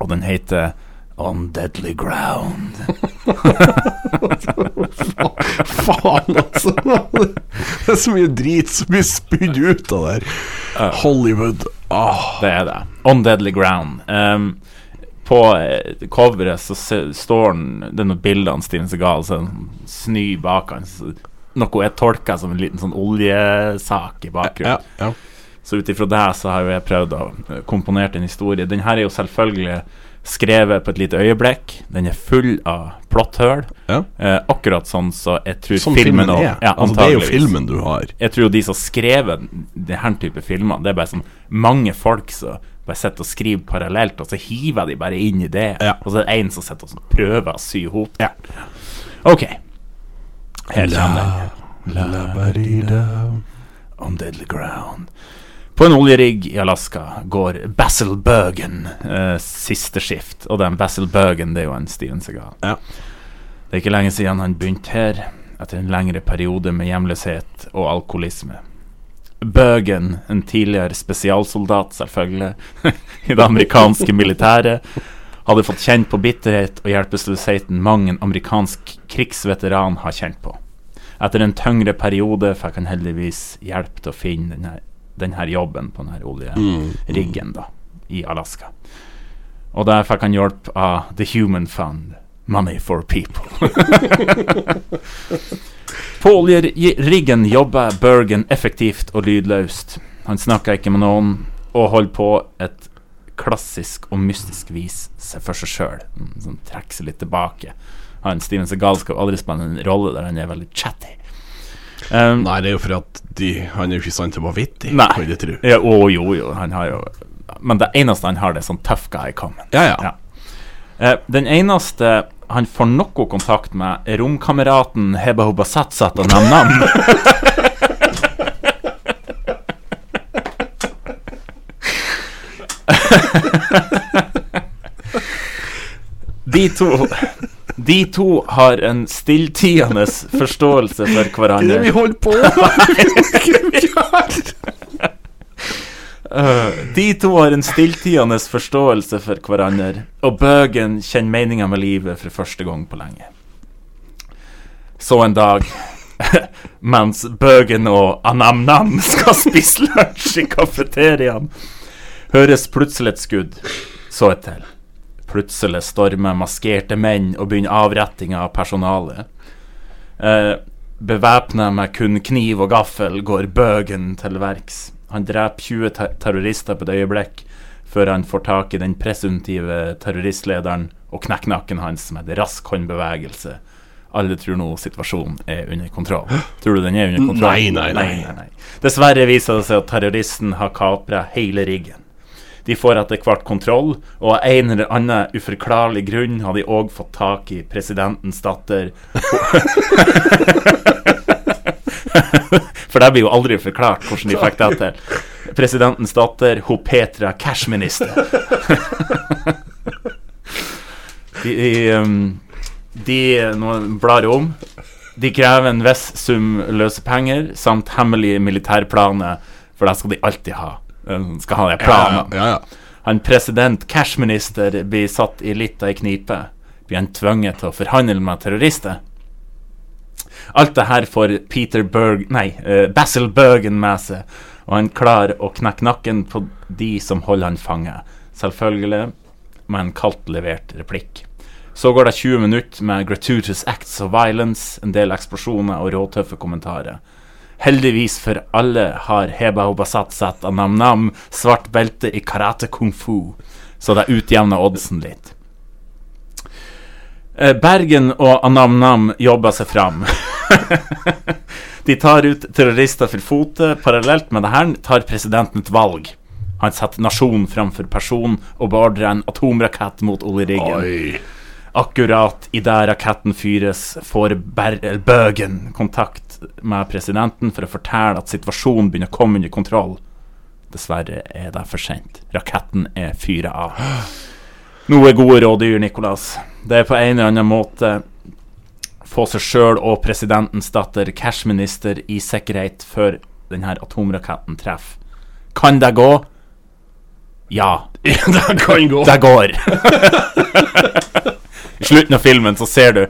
og den heter On Deadly Ground. Faen, altså. Det er så mye drit som blir spydd ut av det her. Hollywood. Ah. Det er det. On Deadly Ground. Ehm, på eh, coveret så se, står den, det er noen bilder av Steven Segal, så er det en sny bak han. så- Noe jeg tolker som en liten sånn oljesak i bakgrunnen. Ja, ja. Så ut ifra det så har jo jeg prøvd å eh, komponere en historie. Den her er jo selvfølgelig skrevet på et lite øyeblikk. Den er full av plotthull. Ja. Eh, akkurat sånn så jeg tror Som filmen, filmen også- er. Ja, altså, det er jo antageligvis. filmen du har. Jeg tror jo de som skrev denne type filmer, det er bare sånn mange folk som bare sitter og skriver parallelt, og så hiver de bare inn i det. Ja. Og så er det en som sitter og sånn prøver å sy i hop. Ok. Her kommer den. On deadly ground. På en oljerigg i Alaska går Basil Bergen eh, siste skift. Og den Basil Bergen, det er jo en Steven Segal. Ja. Det er ikke lenge siden han begynte her, etter en lengre periode med hjemløshet og alkoholisme. Bergen, en tidligere spesialsoldat, selvfølgelig, i det amerikanske militæret, hadde fått kjent på bitterhet og hjelpeløsheten mang en amerikansk krigsveteran har kjent på. Etter en tyngre periode fikk han heldigvis hjelp til å finne denne, denne jobben på denne Mm. oljeriggen da, i Alaska. Og der fikk han hjelp av The Human Fund, Money for People. på oljeriggen jobba Bergen effektivt og lydløst. Han snakka ikke med noen, og holdt på et klassisk og mystisk vis seg for seg sjøl. Sånn, trekker seg litt tilbake. Han Steven Segal skal aldri spille en rolle der han er veldig chatty. Um, Nei, det er jo for at de, han er jo ikke i stand til å være vittig, Nei. kan jeg tro. Ja, å, jo, jo, han har jo Men det eneste han har, det er sånn tough guy-comment. Ja, ja. Ja. Eh, den eneste han får noe kontakt med romkameraten Hebba Hubba Satsat og Nam Nam. De to De to har en stilltiende forståelse for Det er det vi hverandre. holder på med! Eh, De to har en stilltiende forståelse for hverandre, og Bøgen kjenner meninga med livet for første gang på lenge. Så en dag, mens Bøgen og Anam-Nam skal spise lunsj i kafeteriaen, høres plutselig et skudd, så et til. Plutselig stormer maskerte menn og begynner avrettinga av personalet. Eh, Bevæpna med kun kniv og gaffel går Bøgen til verks. Han dreper 20 ter terrorister på et øyeblikk, før han får tak i den presumptive terroristlederen og knekker nakken hans med en rask håndbevegelse. Alle tror nå situasjonen er under kontroll. Tror du den er under kontroll? Nei, nei, nei. Dessverre viser det seg at terroristen har kapra hele riggen. De får etter hvert kontroll, og av en eller annen uforklarlig grunn har de òg fått tak i presidentens datter. For det blir jo aldri forklart hvordan de fikk det til. Presidentens datter, hun Petra Cashminister. De, de, um, de nå blar jeg om. De krever en viss sum løsepenger samt hemmelige militærplaner, for det skal de alltid ha. De skal ha de planene. Ja, ja. Han president cashminister blir satt i litt av ei knipe. Blir han tvunget til å forhandle med terrorister? Alt det her får Peter Berg Nei, eh, Basil Bergen med seg, og han klarer å knekke nakken på de som holder han fanget. Selvfølgelig med en kaldt levert replikk. Så går det 20 minutter med gratuitous acts of violence, en del eksplosjoner og råtøffe kommentarer. Heldigvis for alle har Heba Hobasatsat og Nam Nam svart belte i karate kung fu, så det utjevner oddsen litt. Eh, Bergen og Anam Nam jobber seg fram. De tar ut terrorister for fote. Parallelt med det her tar presidenten et valg. Han setter nasjon framfor person og beordrer en atomrakett mot oljeriggen. Oi. Akkurat idet raketten fyres, får Ber eller Bøgen kontakt med presidenten for å fortelle at situasjonen begynner å komme under kontroll. Dessverre er det for sent. Raketten er fyret av. Noe gode rådyr, Nicolas. Det er på en eller annen måte få seg sjøl og presidentens datter, cashminister, i sikkerhet før denne atomraketten treffer. Kan det gå? Ja. Det kan gå. Det går. I slutten av filmen så ser du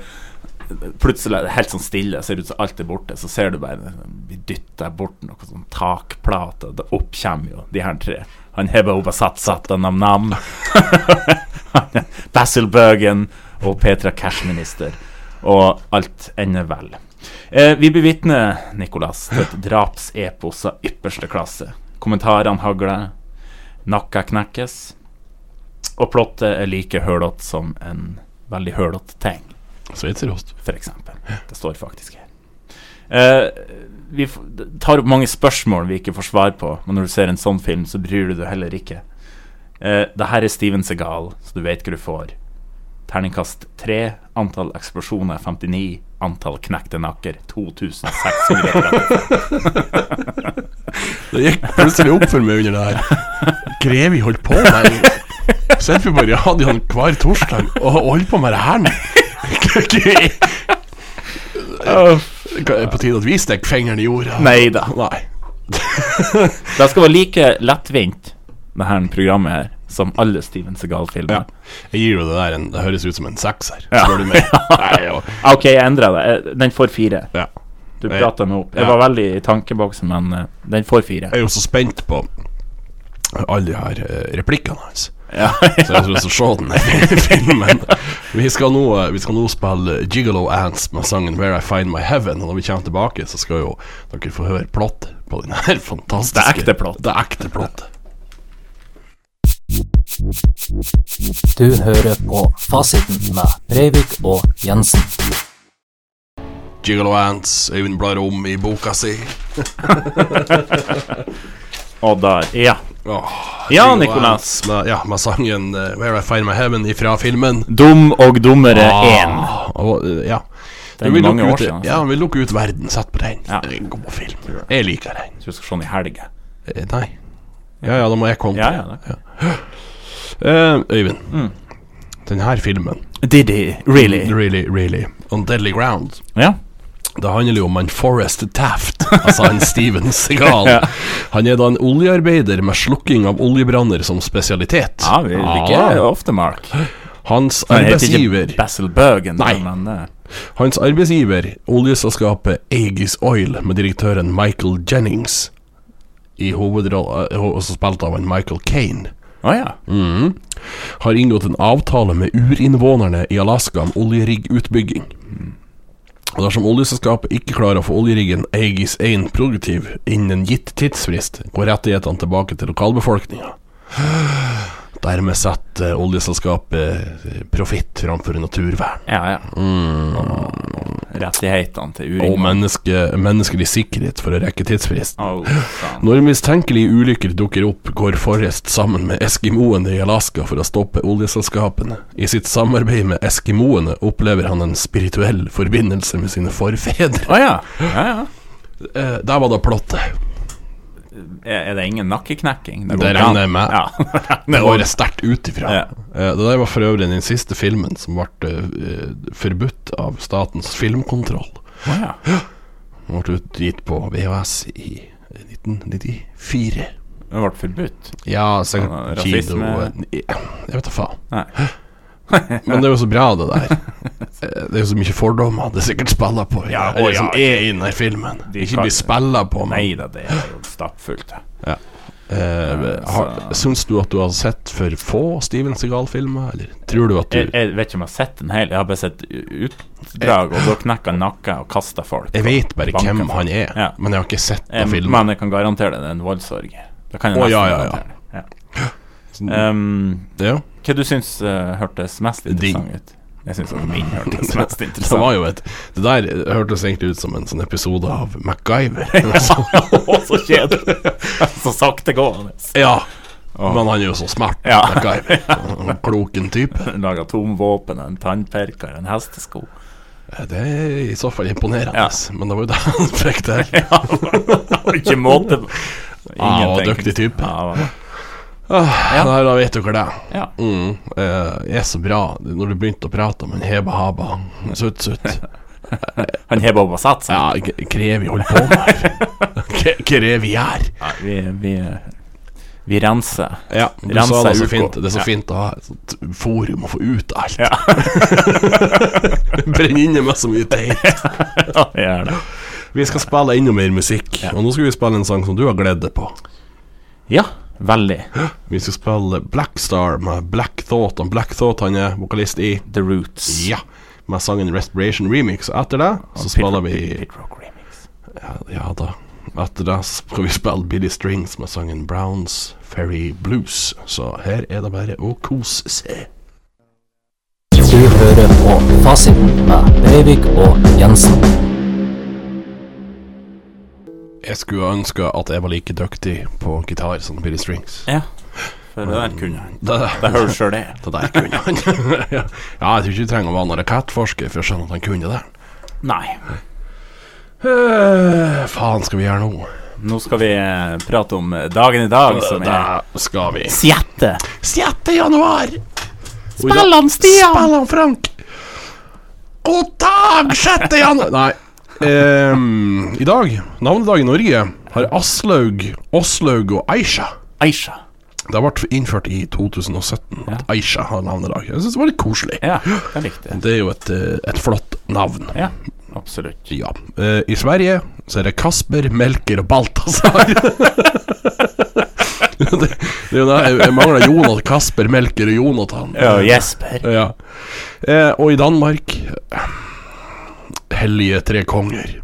Plutselig er det helt sånn stille, ser ut som alt er borte. Så ser du bare vi dytter bort noe sånn takplate, og det oppkommer jo de her tre. Han Heba Obasatsat og Nam Nam. Basil Bøgen og Petra Cashminister. Og alt ender vel. Eh, vi bevitner, Nicolas, til et drapsepos av ypperste klasse. Kommentarene hagler, nakka knekkes. Og plottet er like hølete som en veldig hølete ting, Sveitserost. f.eks. Det står faktisk her. Eh, vi f tar opp mange spørsmål vi ikke får svar på, men når du ser en sånn film, så bryr du deg heller ikke. Uh, det her er Steven Segal, så du vet hva du får. Terningkast 3, antall eksplosjoner 59, antall knekte nakker 2600. Det gikk plutselig opp for meg under det her. Grevi holdt på med Sitter vi på radioen hver torsdag og holder på med det her nå? Det er på tide at vi stikker fingeren i jorda. Nei da. Nei. Det skal være like lettvint, det her programmet her, som alle Steven Segal-filmer. Ja. Jeg gir jo det der en Det høres ut som en sekser, Ja. spør du meg. Nei, jo. Ah, Ok, jeg endra det. Eh, Den får fire. Ja. Du Nei. prata meg opp. Jeg Ja. var veldig i tankeboksen, men eh, den får fire. Jeg er jo så spent på alle de her eh, replikkene hans. Ja. Så jeg tror jeg skal se den filmen. Vi skal, nå, eh, vi skal nå spille Gigolo Ants med sangen 'Where I Find My Heaven'. Og når vi kommer tilbake, så skal jo dere få høre plott på den her fantastiske Det er ekte plott. Det er ekte plott. Du hører på Fasiten med Breivik og Jensen. Gigolo Ants, Øyvind blar om i boka si. Og der. Ja. Åh, Ja, Ringo Nicolas. Adams Med, ja, med sangen eh, 'Where I Find My Heaven' ifra filmen. Dum og dummere én. Ah, og, eh, ja. Den Vi er lukker mange år ut, siden. altså. Ja, vi lukker ut verden. Sett på den. Ja. Det er en god film. Jeg liker den. Så vi skal se den i helga. Eh, Nei. Ja ja, da må jeg komme. Ja, ja, ja. Eh, Øyvind. Mm. Denne filmen, Did he? Really? really, really, On Deadly Ground Ja. Det handler jo om en Forrest Taft, altså en Steven Segal. Han er da en oljearbeider med slukking av oljebranner som spesialitet. ja vi liker Ja. ofte Mark. Hans Han heter arbeidsgiver ikke Basil Bergen, Nei. men eh, Hans arbeidsgiver, oljeselskapet Aegis Oil med direktøren Michael Jennings, i hovedrolla, også spilt av en Michael Kane, Å ja. Mhm. har inngått en avtale med urinnvånerne i Alaska om oljeriggutbygging. Og dersom oljeselskapet ikke klarer å få oljeriggen Aegis 1 produktiv innen en gitt tidsfrist, går rettighetene tilbake til lokalbefolkninga. Dermed setter oljeselskapet eh, profitt framfor naturvern. Ja, ja. Mm. Rettighetene til og uring. menneske, menneskelig sikkerhet for å rekke tidsfristen. Oh, faen. Når mistenkelige ulykker dukker opp, går Forrest sammen med eskimoene i Alaska for å stoppe oljeselskapene. I sitt samarbeid med eskimoene opplever han en spirituell forbindelse med sine forfedre. Å ja. ja, ja. Eh, der var da plottet. Er er det ingen nakkeknekking? går Det bra. regner jeg med. Ja. Det går sterkt ut ifra. Ja. Eh, det der var for øvrig den siste filmen som ble eh, forbudt av Statens filmkontroll. Å ja. Den ble utgitt på VHS i 1994. Det ble forbudt. Ja, sikkert Sånn, kilo rasisme. Jeg vet da faen. Nei. Men det er jo så bra, det der. Eh, Det er jo så mye fordommer det sikkert spiller på. Ja, eller å, ja. som er i denne filmen. De ikke kan- blir spilla på, men Nei da, det er jo stappfullt. eh, Altså- har, Syns du at du har sett for få Steven Segal-filmer, eller tror du at Jeg, du jeg vet ikke om jeg har sett den hele, jeg har bare sett utdrag, og da knekker han nakken og kaster folk. Jeg vet bare Banker hvem folk. han er, Ja. men jeg har ikke sett Eh, den filmen. Men jeg kan garantere det, det er en voldsorg. Det kan jeg Å, nesten ja, ja, ja. garantere. Ja. Um, Ja. hva du syns eh, hørtes mest interessant Ding. ut? Jeg syns at min hørtes mest Det var interessant ut. jo et Det der hørtes egentlig ut som en sånn episode av MacGyver. eller sånn. Å, så kjedelig! så saktegående. ja, Åh. men han er jo så smart, Ja. MacGyver. En Kloken type. Laga atomvåpen, en tannpirker, en hestesko. Det er i så fall imponerende, Ja. men det var jo det han fikk til. Ja, ikke måte på. Ah, og Ingenting. dyktig type. Ja, hva- Ja. Nei, da vet dere det. ja. Mm, eh, jeg er så bra når du begynte å prate om en heba haba. Sutt, sutt. Han hever opp og setter seg. Ja, krevi holder på med her. Krevi gjør. Vi, vi, vi renser. Ja, du Rensa sa det så UK. fint. Det er så Ja. fint å ha et sånt forum å få ut alt. Ja. Brenn inne med så mye teit. Vi gjør det. Vi skal spille enda mer musikk, og nå skal vi spille en sang som du har gledet deg på. Ja, veldig. Vi skal spille Black Star med Black Thought. Og Black Thought han er vokalist i The Roots. Ja, med sangen Respiration Remix. Og etter det så spiller vi Pit Rock Remix. ja, ja da. Etter det så skal vi spille Billy Strings med sangen Browns Ferry Blues. Så her er det bare å kose seg. Du hører på Fasiten med Breivik og Jensen. Jeg skulle ønske at jeg var like dyktig på gitar som Billy Strings. Ja. For det Mm. der kunne han. Det, Det hører sjøl det. det der kunne han. ja, jeg tror ikke du trenger å være noen rakettforsker for å skjønne at han kunne det. Nei. Eh, faen skal vi gjøre nå? Nå skal vi eh, prate om eh, dagen i dag, som er Det skal vi. Sjette. 6. januar. Spill han, Stian! Spill han, Frank! God dag, 6. januar Nei. Ehm, I dag, navnedag i Norge, har Aslaug, Åslaug og Aisha Aisha. Det ble innført i 2017 at Aisha har navnedag. Jeg syns det var litt koselig. Ja, det likte jeg. Det er jo et, eh, et flott navn. Ja, absolutt. Ja. Eh, I Sverige så er det Kasper, Melker og Balthazar. det, det er jo det. Jeg- Jeg mangler Jonas, Kasper, Melker og Jonathan. Ja, Jesper. Ja. Eh, og i Danmark eh, Hellige tre konger.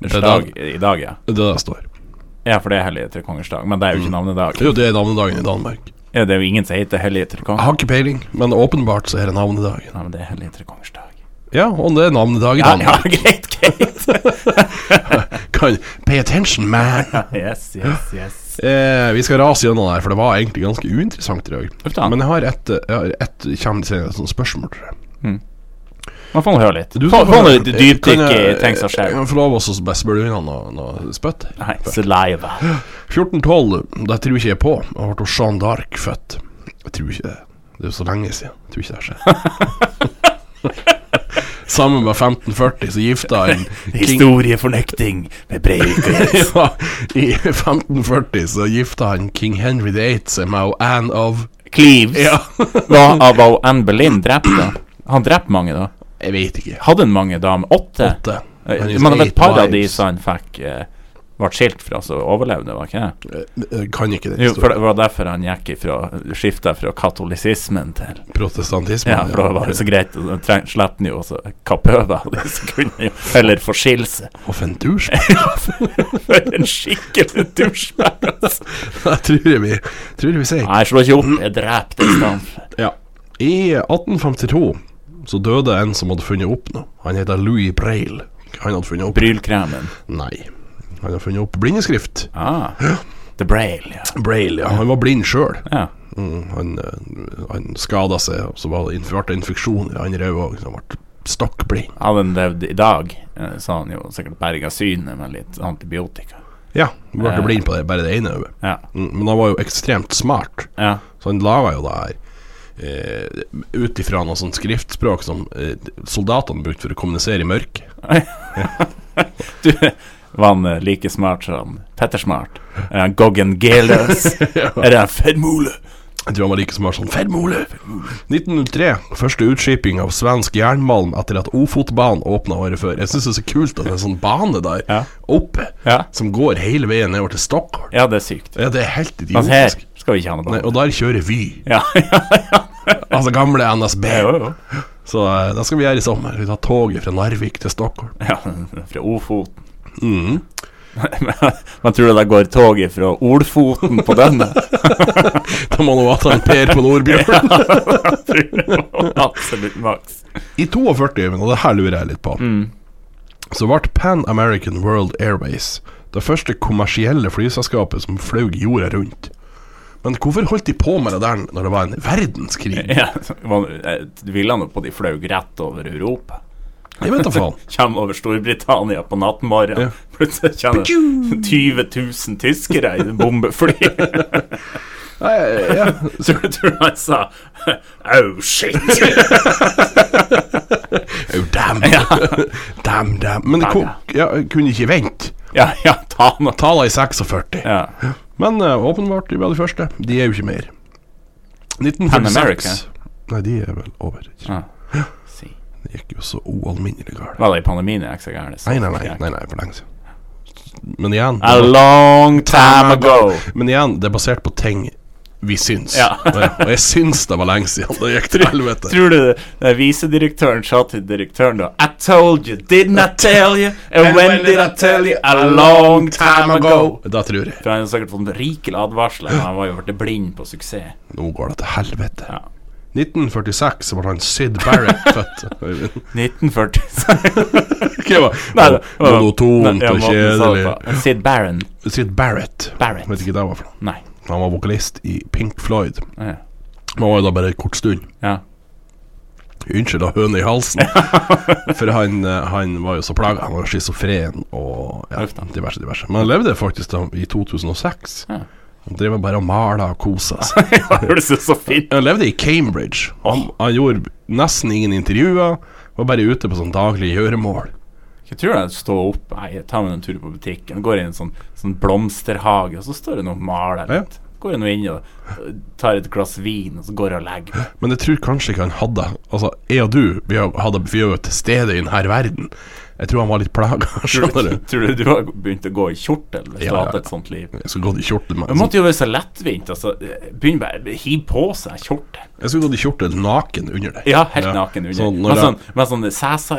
Det er Dag, dag- I dag, ja. Det der står. Ja, for det er hellige trekongens dag, men det er Mm. jo ikke navnedag. Jo, det er navnedagen i Danmark. Ja, det er jo ingen som heter hellige Jeg trekongens har ikke peiling, men åpenbart så er det navnedagen. Nei, men det er hellige trekongens dag. Ja, og det er navnedag i Ja, ja, Danmark. greit, greit. kan Pay attention, man! Yes, yes, yes. Eh, vi skal rase gjennom det her, for det var egentlig ganske uinteressant i dag. Uff da. Men jeg har et, eh, jeg har et kjem til et sånt spørsmål. tror jeg. Man får nå høre litt. Du Få skal få få- nå et dypdykk Kan i jeg- ting som skjer. Kan jeg få lov å bare spørre unna noe, noe spytt? Nei, saliva. 1412, det tror jeg ikke jeg er på. Da ble Jeanne d'Arc født. Jeg tror ikke det. Det er jo så lenge siden. Jeg tror ikke det skjer. Sammen med 1540 så gifta en king Historiefornekting med Breivik. ja, I 1540 så gifta han king Henry 8 seg med Anne of Cleaves. Ja, Hva av hva Anne Boleyn drept, da? Han drepte mange, da. jeg vet ikke. Hadde han mange damer? Åtte? Åtte. Eh, Han is Men det var eight et par av de wives. som han fikk eh, ble skilt fra, så overlevde, var ikke det? Eh, eh, Kan ikke den Jo, for det historien. var derfor han gikk ifra skifta fra katolisismen til Protestantismen. Ja, for da var liksom- det så greit. og Da slapp han jo også kappe over av de som kunne jo Eller få skilse. Og for en dusj. For en skikkelig douchebag, altså. Jeg tror jeg vi, tror jeg vi sier. Nei, slå ikke opp. Jeg dreper deg i stedet. for. Ja. I 1852 så døde en som hadde funnet opp noe. Han heter Louis Braille. Han hadde funnet opp Brylkremen. Nei. Han hadde funnet opp blindeskrift. Ah. The Braille, ja. Braille, ja. Han var blind sjøl. ja. Mm, han eh, han skada seg, og så var det, ble det infeksjon i andre øyet òg, så han ble stokkblind. Hadde han levd i dag, eh, så hadde han jo sikkert berga synet med litt antibiotika. Ja, han ble Ja. blind på det, bare det ene øyet. Ja. Mm, men han var jo ekstremt smart, ja. så han laga jo det her. Eh, Ut ifra noe sånt skriftspråk som eh, soldatene brukte for å kommunisere i mørket. Du var han eh, like smart som Petter Smart? Er han Goggen Geløs? Er han Fedmole? Jeg tror han var sånn, like smart som Fermole. 1903. Første utskiping av svensk jernmalm etter at Ofotbanen åpna året før. Jeg syns det er så kult at det er en sånn bane der Ja. oppe Ja. som går hele veien nedover til Stockholm. Ja, det er sykt. Ja, det er helt Men Altså, her idiotisk. skal vi ikke ha noe Nei, bra. og der kjører Vy, Ja, ja, altså gamle NSB. jo, jo. Så eh, det skal vi gjøre i sommer. Vi tar toget fra Narvik til Stockholm. ja fra Ofoten. Mm. Man tror det går toget fra Olfoten på denne? Da må nå ta en Per på Nordbjørn. Absolutt maks. I 42, men og det her lurer jeg litt på, så ble Pan American World Airways det første kommersielle flyselskapet som fløy jorda rundt. Men hvorfor holdt de på med det der når det var en verdenskrig? Ja, man- eh, ville han jo på de fløy rett over Europa? Jeg vet da faen. Kjem over Storbritannia på nattmorgen. Ja. Plutselig kjenner 20 000 tyskere i bombefly. Nei, ja. tror, tror du han sa Oh shit! Oh, damn. damn, damn. Men ko- ja, kunne ikke vente. ja, ja, ta nå. Ta da i 46. Ja. Men eh, åpenbart, de var de første. De er jo ikke mer. 1946 Pan America? Nei, de er vel over. Ja. Si. Det gikk jo så ualminnelig galt. Var det i pandemien jeg ikke så gæren? Nei, nei, nei, nei, nei for lenge siden. Men igjen A long time ago. Men igjen, det er basert på ting vi syns. Ja. og jeg- og jeg syns det var lenge siden det gikk til helvete. Tror du det- det visedirektøren sa til direktøren da I told you, didn't I tell you? And when did I tell you? A long time ago. Da tror jeg For han har sikkert fått en rikelig advarsel. men Han var jo blitt blind på suksess. nå går det til helvete. Ja. 1946 ble han Syd Barrett født. 1940 Hva var Nei, det var- Monotont Nei, ja, måten du og sa det kjedelig. på. Sid Barron. Syd Barrett. Barrett. Vet ikke hva det var for noe. Nei. Han var vokalist i Pink Floyd. Ja. Men var jo da bare en kort stund. Ja. Unnskyld av høne i halsen. For han, eh, han var jo så plaga. Han var schizofren og ja, Uff da. diverse, diverse. Men han levde faktisk da i 2006. Ja. Han drev bare og mala og kosa seg. Høres ut så fint Han levde i Cambridge. Han, han gjorde nesten ingen intervjuer. Var bare ute på sånn daglig gjøremål. Jeg tror jeg står opp Nei, jeg tar meg en tur på butikken Går inn i en sånn, sånn blomsterhage Og så står det noen maler litt Går jeg nå inn og øh, tar et glass vin Og så går jeg og legger meg. Men jeg tror kanskje ikke han hadde Altså, jeg og du, vi har- hadde, vi er jo til stede i denne verden. Jeg tror han var litt plaga, skjønner du. Tror du du har begynt å gå i kjortel Hvis du Ja, ja, har hatt ja. et sånt liv Jeg skulle gått i kjortel med Det måtte jo være så lettvint altså. Begynn bare Hiv på seg kjortel Jeg skulle gått i kjortel naken under deg. Ja, helt naken under Sånn, når Med jeg- sånn, med sånn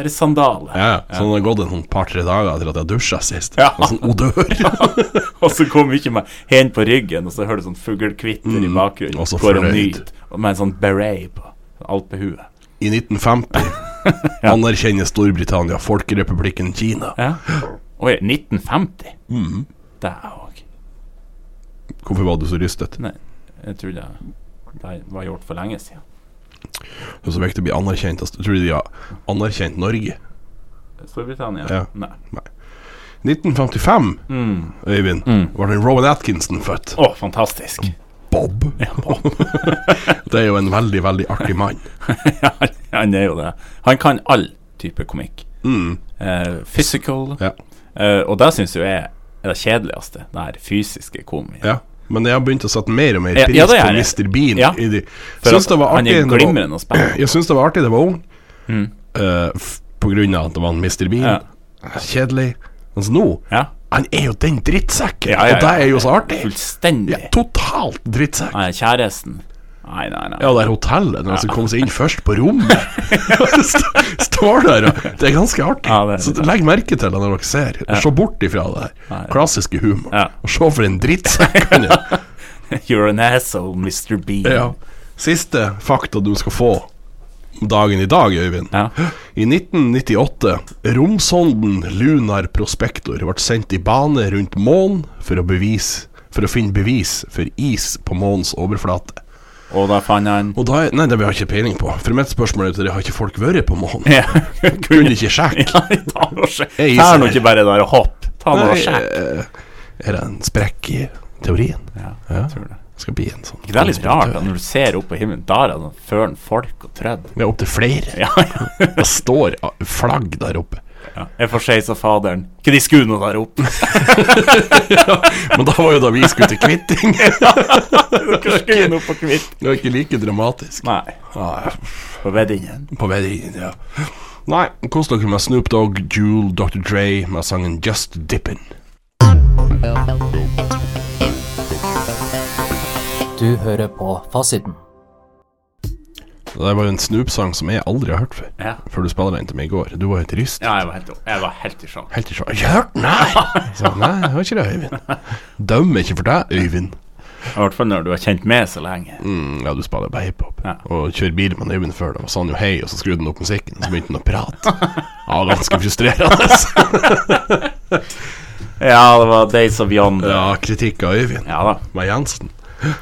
Cæsar-sandale Ja, så det har gått en sånn par-tre dager til at jeg dusja sist. Ja. Og sånn odør. Og så kom ikke meg hen på ryggen, og så hører du sånn fuglekvitter i bakgrunnen. Mm. og så går og fornøyd. nyt, og med en sånn beret på. Alpehue. I 1950 anerkjenner Storbritannia Folkerepublikken Kina. Ja. Oi, 1950? Mhm. Dævåg. Hvorfor var du så rystet? Nei, jeg trodde det var gjort for lenge siden. Det er så viktig å bli anerkjent. Altså, tror du de har anerkjent Norge? Storbritannia? Ja. Nei. 1955, Mm. Øyvind, Mm. var den Rowan Atkinson født. Å, fantastisk. Bob. det er jo en veldig, veldig artig mann. Han er jo det. Han kan all type komikk. Mm. Eh, physical. Ja. Eh, og det syns jeg er det kjedeligste. Det her fysiske komikere. Ja. Men jeg har begynt å sette mer og mer Ja, pris ja, det på er det. Mr. Bean. Ja. I de. For Syns at det var han artig er da det var- glimrende og spennende. Jeg syns det var artig da jeg var ung, Mm. eh, f- på grunn av at det var en Mr. Bean. Ja. Kjedelig. Mens nå Ja. Han er jo den drittsekken, Ja, ja, og det er jo så artig. Fullstendig. Ja, totalt drittsekk. Nei, kjæresten. Nei, nei, nei. Ja, det er hotellet, når han skal komme seg inn først på rommet. St- Står der, og Det er ganske artig. Ja, det er så litt legg merke til det når dere ser. Se bort ifra det Ja, her. ja. Klassiske humor. Ja. Og se for en drittsekk han er. You're an asshole, Mr. Bean. Ja. Siste fakta du skal få om dagen i dag, Øyvind. Ja. I 1998, romsonden Lunar Prospector ble sendt i bane rundt månen for å bevise for å finne bevis for is på månens overflate. Og da fant han Og da er, Nei, det har jeg ikke peiling på. For mitt spørsmål er til dere, har ikke folk vært på månen? Ja. Kunne ikke sjekke. Ja, ta nå og sjekk. Jeg Ta iser. nå ikke bare der og hopp. Ta nå og Nei, sjekk. eh, Er det en sprekk i teorien? Ja, Ja. jeg tror det. Skal bli en sånn Ikke det er litt rart da, når du ser opp på himmelen, der er det førn folk og trødd. Vi er opptil flere. Ja, ja. Det står ah, flagg der oppe. Jeg får skeis av faderen. Hva de skulle nå der oppe? Men da var jo da vi skulle til Kvitting. Hva skulle nå på kvitt? Det var ikke like dramatisk. Nei, Ah, på veddingen. på vei inn, ja. Nei, kos dere med Snoop Dogg, Jule, Dr. Dre med sangen Just Dippin'. Du hører på Fasiten. Det var jo en Snoop-sang som jeg aldri har hørt før. Ja. Før du spiller den til meg i går. Du var helt ryst. Ja, jeg var helt, jeg var helt i sjokk. Helt til sånn Jeg hørte den her! Så, nei, det var ikke det, Øyvind. Dømmer ikke for deg, Øyvind. I hvert fall når du har kjent med så lenge. Mm, ja, du spiller bare hiphop. Ja. Og kjører bil med en Øyvind før det, og så sa han jo hei, og så skrudde han opp musikken, og så begynte han å prate. Ja, ganske frustrerende. Ja, det var Days of Yonder. Ja, kritikk av Øyvind. Ja da. Med Jensen.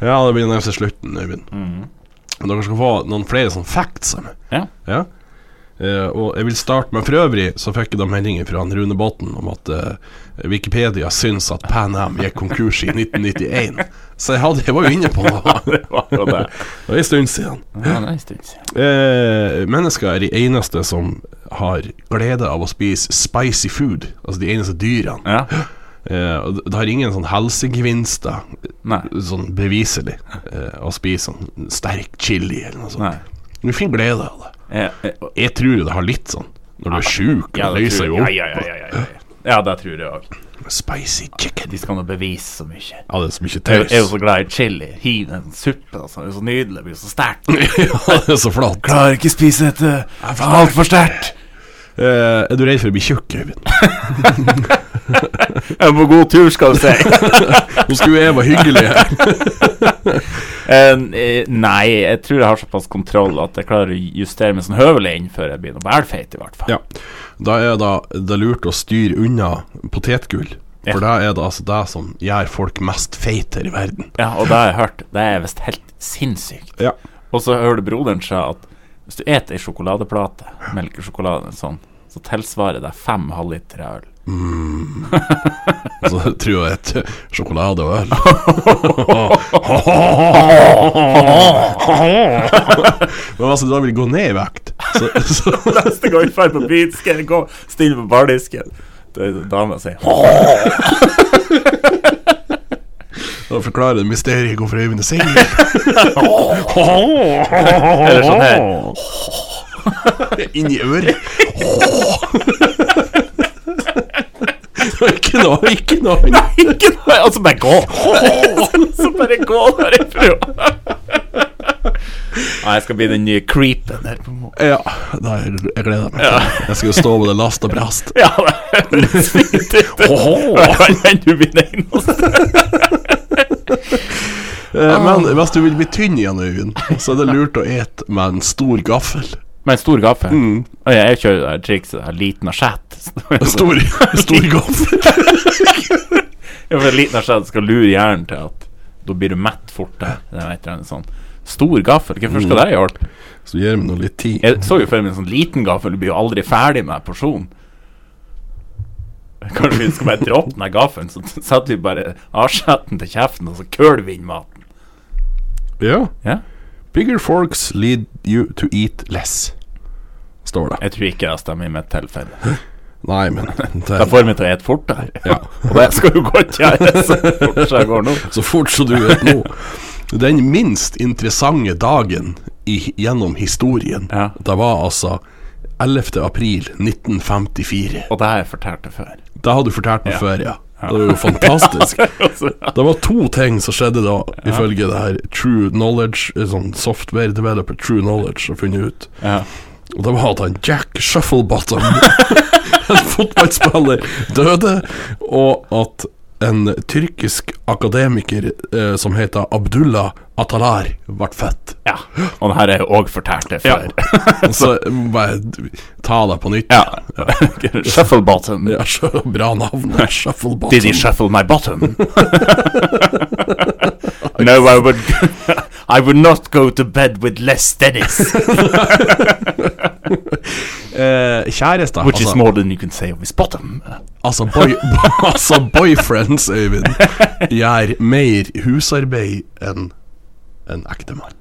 ja, det begynner nærmest slutten, Øyvind. Men dere skal få noen flere sånne facts. av meg. Ja. Ja. Eh, og jeg vil starte med For øvrig så fikk jeg da meldinger fra han Rune Botten om at eh, Wikipedia syns at Pan Am gikk konkurs i 1991. Så jeg, hadde, jeg var jo inne på noe. Det var jo det. Det er en stund siden. Ja, det er en stund siden. Eh, mennesker er de eneste som har glede av å spise spicy food. Altså de eneste dyrene. Ja. Eh, og det- det har ingen sånn helsegevinster, Nei. sånn beviselig, eh, å spise sånn sterk chili eller noe sånt. Nei. Men du finner glede av det. Jeg, jeg, Jeg tror jo det har litt sånn når du er sjuk ja, og det løser tror, jo ja, opp. ja, ja, ja, ja, ja. ja, det tror jeg òg. Spicy chicken. De skal nå bevise så mye. Ja, det er så mye Jeg taus. er jo så glad i chili. Hiv den suppen. Altså. Det er jo så nydelig. Det blir så sterkt. ja, det er så flatt. Klarer ikke spise dette. Altfor sterkt. Eh, er du redd for å bli tjukk, Øyvind? Jeg er på god tur, skal du si. Nå skulle jeg være hyggelig her. Eh, nei, jeg tror jeg har såpass kontroll at jeg klarer å justere meg sånn høvelig inn før jeg blir noe bælfeit, i hvert fall. Ja. Da er det, det er lurt å styre unna potetgull. For da er det altså det som gjør folk mest feite her i verden. Ja, og det har jeg hørt. Det er visst helt sinnssykt. Ja. Og så hører du broderen si at hvis du eter ei sjokoladeplate, melkesjokolade sånn, så tilsvarer det fem halvliter øl. Så Altså, jeg tror jeg et sjokolade og øl Men altså, da vil jeg gå ned i vekt. Så, så Neste gang jeg drar på byen, skal jeg gå stille på bardisken. Da er det dama sier da forklarer det mysteriet hvorfor Øyvind er singel. Eller sånn her. Inni øret. Ikke noe, ikke noe. Ikke noe! Og så bare gå! så bare gå derifra. Nei, jeg skal bli den nye creepen her på morgenen. Ja, da, jeg gleder meg. Jeg skal jo stå med det last og brast. Ja, det høres fint ut. Men du blir den eneste. Ah. Eh, Men hvis du vil bli tynn igjen, Øyvind, så er det lurt å ete med en stor gaffel. Med en stor gaffel. Mm. Og jeg kjører det der trikset der, liten asjett. Stor, stor gaffel. Ja, for en liten asjett skal lure hjernen til at da blir du mett fortere. Det er et eller annet sånn. Stor gaffel, hvorfor skal det hjelpe? Så gir vi nå litt tid. Jeg så jo for meg en sånn liten gaffel, du blir jo aldri ferdig med porsjonen. Kanskje vi skal bare droppe den her gaffelen, så setter vi bare asjetten til kjeften, og så køler vi inn maten. Ja. Ja. Bigger forks lead you to eat less, står det. Jeg tror ikke det stemmer i mitt tilfelle. Nei, men Da det, får vi til å spise fortere. ja. Og det skal jo godt gjøres. Fort som jeg går nå. Så fort som du vet nå. Den minst interessante dagen i, gjennom historien, Ja. det var altså 11. april 1954. Og det har jeg fortalt det før. Det har du fortalt meg før, ja. Det var jo fantastisk. Det var to ting som skjedde da, ifølge det her True Knowledge, eh, sånn software developer True Knowledge har funnet ut. Ja. Og det var at han Jack Shufflebottom, en fotballspiller, døde, og at en tyrkisk akademiker eh, som heter Abdullah Atalar, ble født. ja. Og det her har jeg òg fortalt det før. Så jeg må bare ta det på nytt. Ja. Shuffle bottom. Ja, så bra navn. Shufflebottom. Did he shuffle my bottom? no, I would I would not go to bed with less Dennis. Eh, kjæreste, Which altså. is more than you can say of his bottom. Altså, boy, altså boyfriends, Øyvind, gjør mer husarbeid enn en ektemann.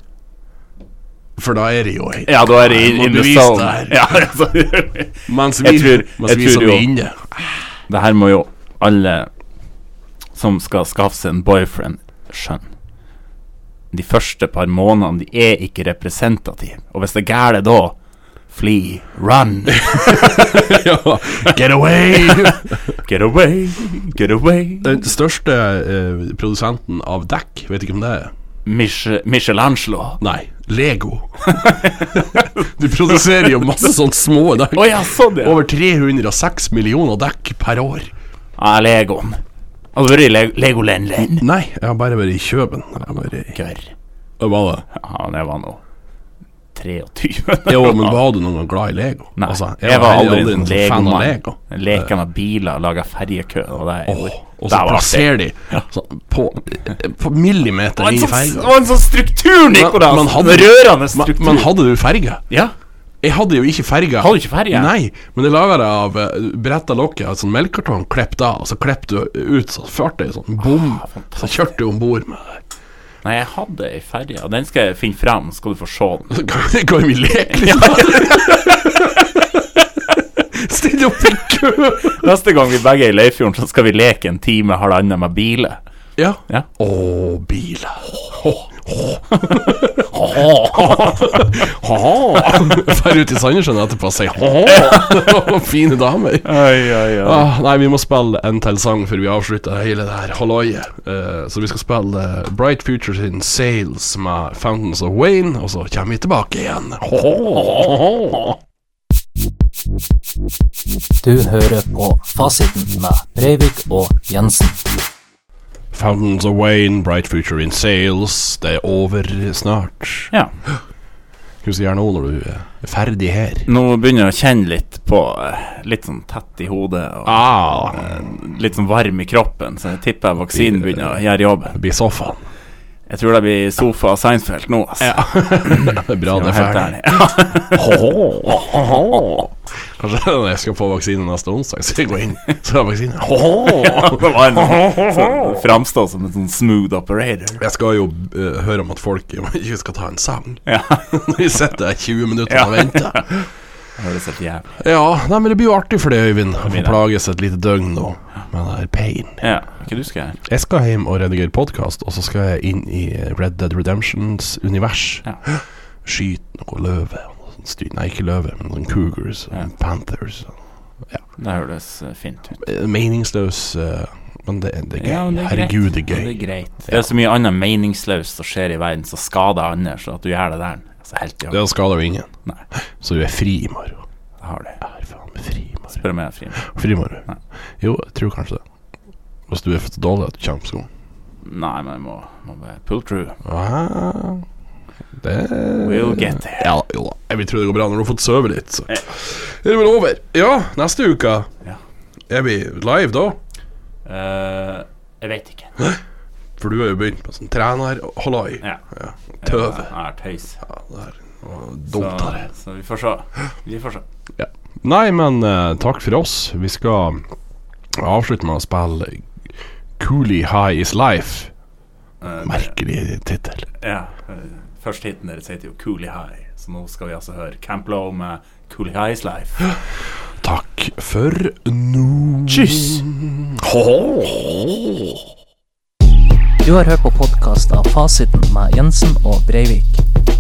For da er det jo helt Ja, da er det in, Må in the bevise zone. det her. Ja, altså. Mens vi, Jeg tror- mens jeg vi tror som jo- er inne det her må jo alle som skal skaffe seg en boyfriend, skjønne. De første par månedene de er ikke representative. Og hvis det er gærent da, fly, run, ja. Get away! get away, get away. Den største eh, produsenten av dekk, vet ikke om det er Mich- Michelangelo. Nei, Lego. De produserer jo masse sånne små dekk. Å ja, sånn ja. Over 306 millioner dekk per år. Ja, Legoen. Har du vært i Leg Legoland Land? Nei, jeg har bare vært i Kjøben. Jeg har bare i... Kør. Var det? Ja, det var nå 23. Jo, men var du noen gang glad i Lego? Nei, Altså, jeg, var heller aldri en noen sånn fan av legomann. Lego. Eh. Leka med biler, laga ferjekø. Og det jeg Åh, gjorde. og så Det var artig. plasserer de sånn på, på millimeteren i Det var en sånn- det ferga. var en sånn struktur, Nicolas! men hadde- En rørende Men, struktur. men hadde du ferge? ja. Jeg hadde jo ikke ferge. Hadde du ikke ferge? Nei, men jeg laga det av eh, bretta lokket av sånn melkekartong, klippet av, og så klippet du ut sånn fartøy, sånn bom, Ah, så kjørte du om bord med det. Nei, jeg hadde ei ferje, og den skal jeg finne fram, skal du få se den. Så kan, kan vi liksom? leke litt? Still opp i kø! Neste gang vi begge er i Leirfjorden, så skal vi leke en time, halvannen med biler. Ja. Ja. Å, biler. Drar ut i Sandnessjøen etterpå og sier «Hå!» Fine damer. Oi, oi, oi. Ah, nei, vi må spille en til sang før vi avslutter hele det her halloiet. Eh, så vi skal spille eh, Bright Future sin Sales med Fountains of Wayne, og så kommer vi tilbake igjen. Hå! Du hører på Fasiten med Breivik og Jensen. Fountains of Wayne, Bright Future in Sales. Det er over snart. Ja. Husk gjerne nå når du er ferdig her. Nå begynner jeg å kjenne litt på eh, Litt sånn tett i hodet og Ah, litt sånn varm i kroppen, så jeg tipper vaksinen begynner å gjøre jobben. det blir sofaen. Jeg tror det blir sofa og Seinfeld nå, altså. Det er bra det er Helt ferdig. ærlig. Ja. Kanskje når jeg skal få vaksine neste onsdag, så jeg går inn, så har jeg vaksine. Hå! Det var en sånn, sånn, framstå som en sånn smooth operator. Jeg skal jo eh, høre om at folk ikke skal ta en sang. Ja, Når vi sitter her 20 minutter og venter. det høres helt jævlig Ja, nei, men det blir jo artig for det, Øyvind. Å få blir det. plages et lite døgn nå med den her pain. Ja, hva du skal gjøre? Jeg skal hjem og redigere podkast, og så skal jeg inn i Red Dead Redemptions univers. Ja. Skyte noe løve. og noe sånt styr. Nei, ikke løve, men noen cougars og Ja. panthers. Det høres eh, fint ut. Eh, Meningsløs, eh, men det, det er gøy. Ja, men det er greit. Herregud, det Ja, Det er gøy. er greit. Det er så mye annet meningsløst som skjer i verden som skader andre, så at du gjør det der, altså helt jævlig. Det skader jo ingen. Nei. Så du er fri i morgen. Det har du. Er faen meg fri i morgen. Spør meg, Frim. Frimorg. Nei. Jo, jeg tror kanskje det. Hvis du er for dårlig at du kommer på skolen. Nei, men jeg må, må bare pull through. Ah. Det We'll get there. Ja, jo da. Jeg vil tro det går bra når du har fått sove litt. Så. Er det vel over? Ja, neste uke. Ja. Er vi live da? Eh, jeg vet ikke. For du har jo begynt med sånn trener Halloi. Ja. Ja. Tøv. Ja, tøys. Ja, det er Så, dumt av det. så vi får se. Vi får se. Nei, men eh, takk for oss. Vi skal avslutte med å spille Coolie High Is Life. Eh, Merkelig tittel. Ja. eh, Først hiten deres heter jo Coolie High, så nå skal vi altså høre Camp Low med Coolie High's Life. Takk for nå. Kyss! Du har hørt på podkast av Fasiten med Jensen og Breivik.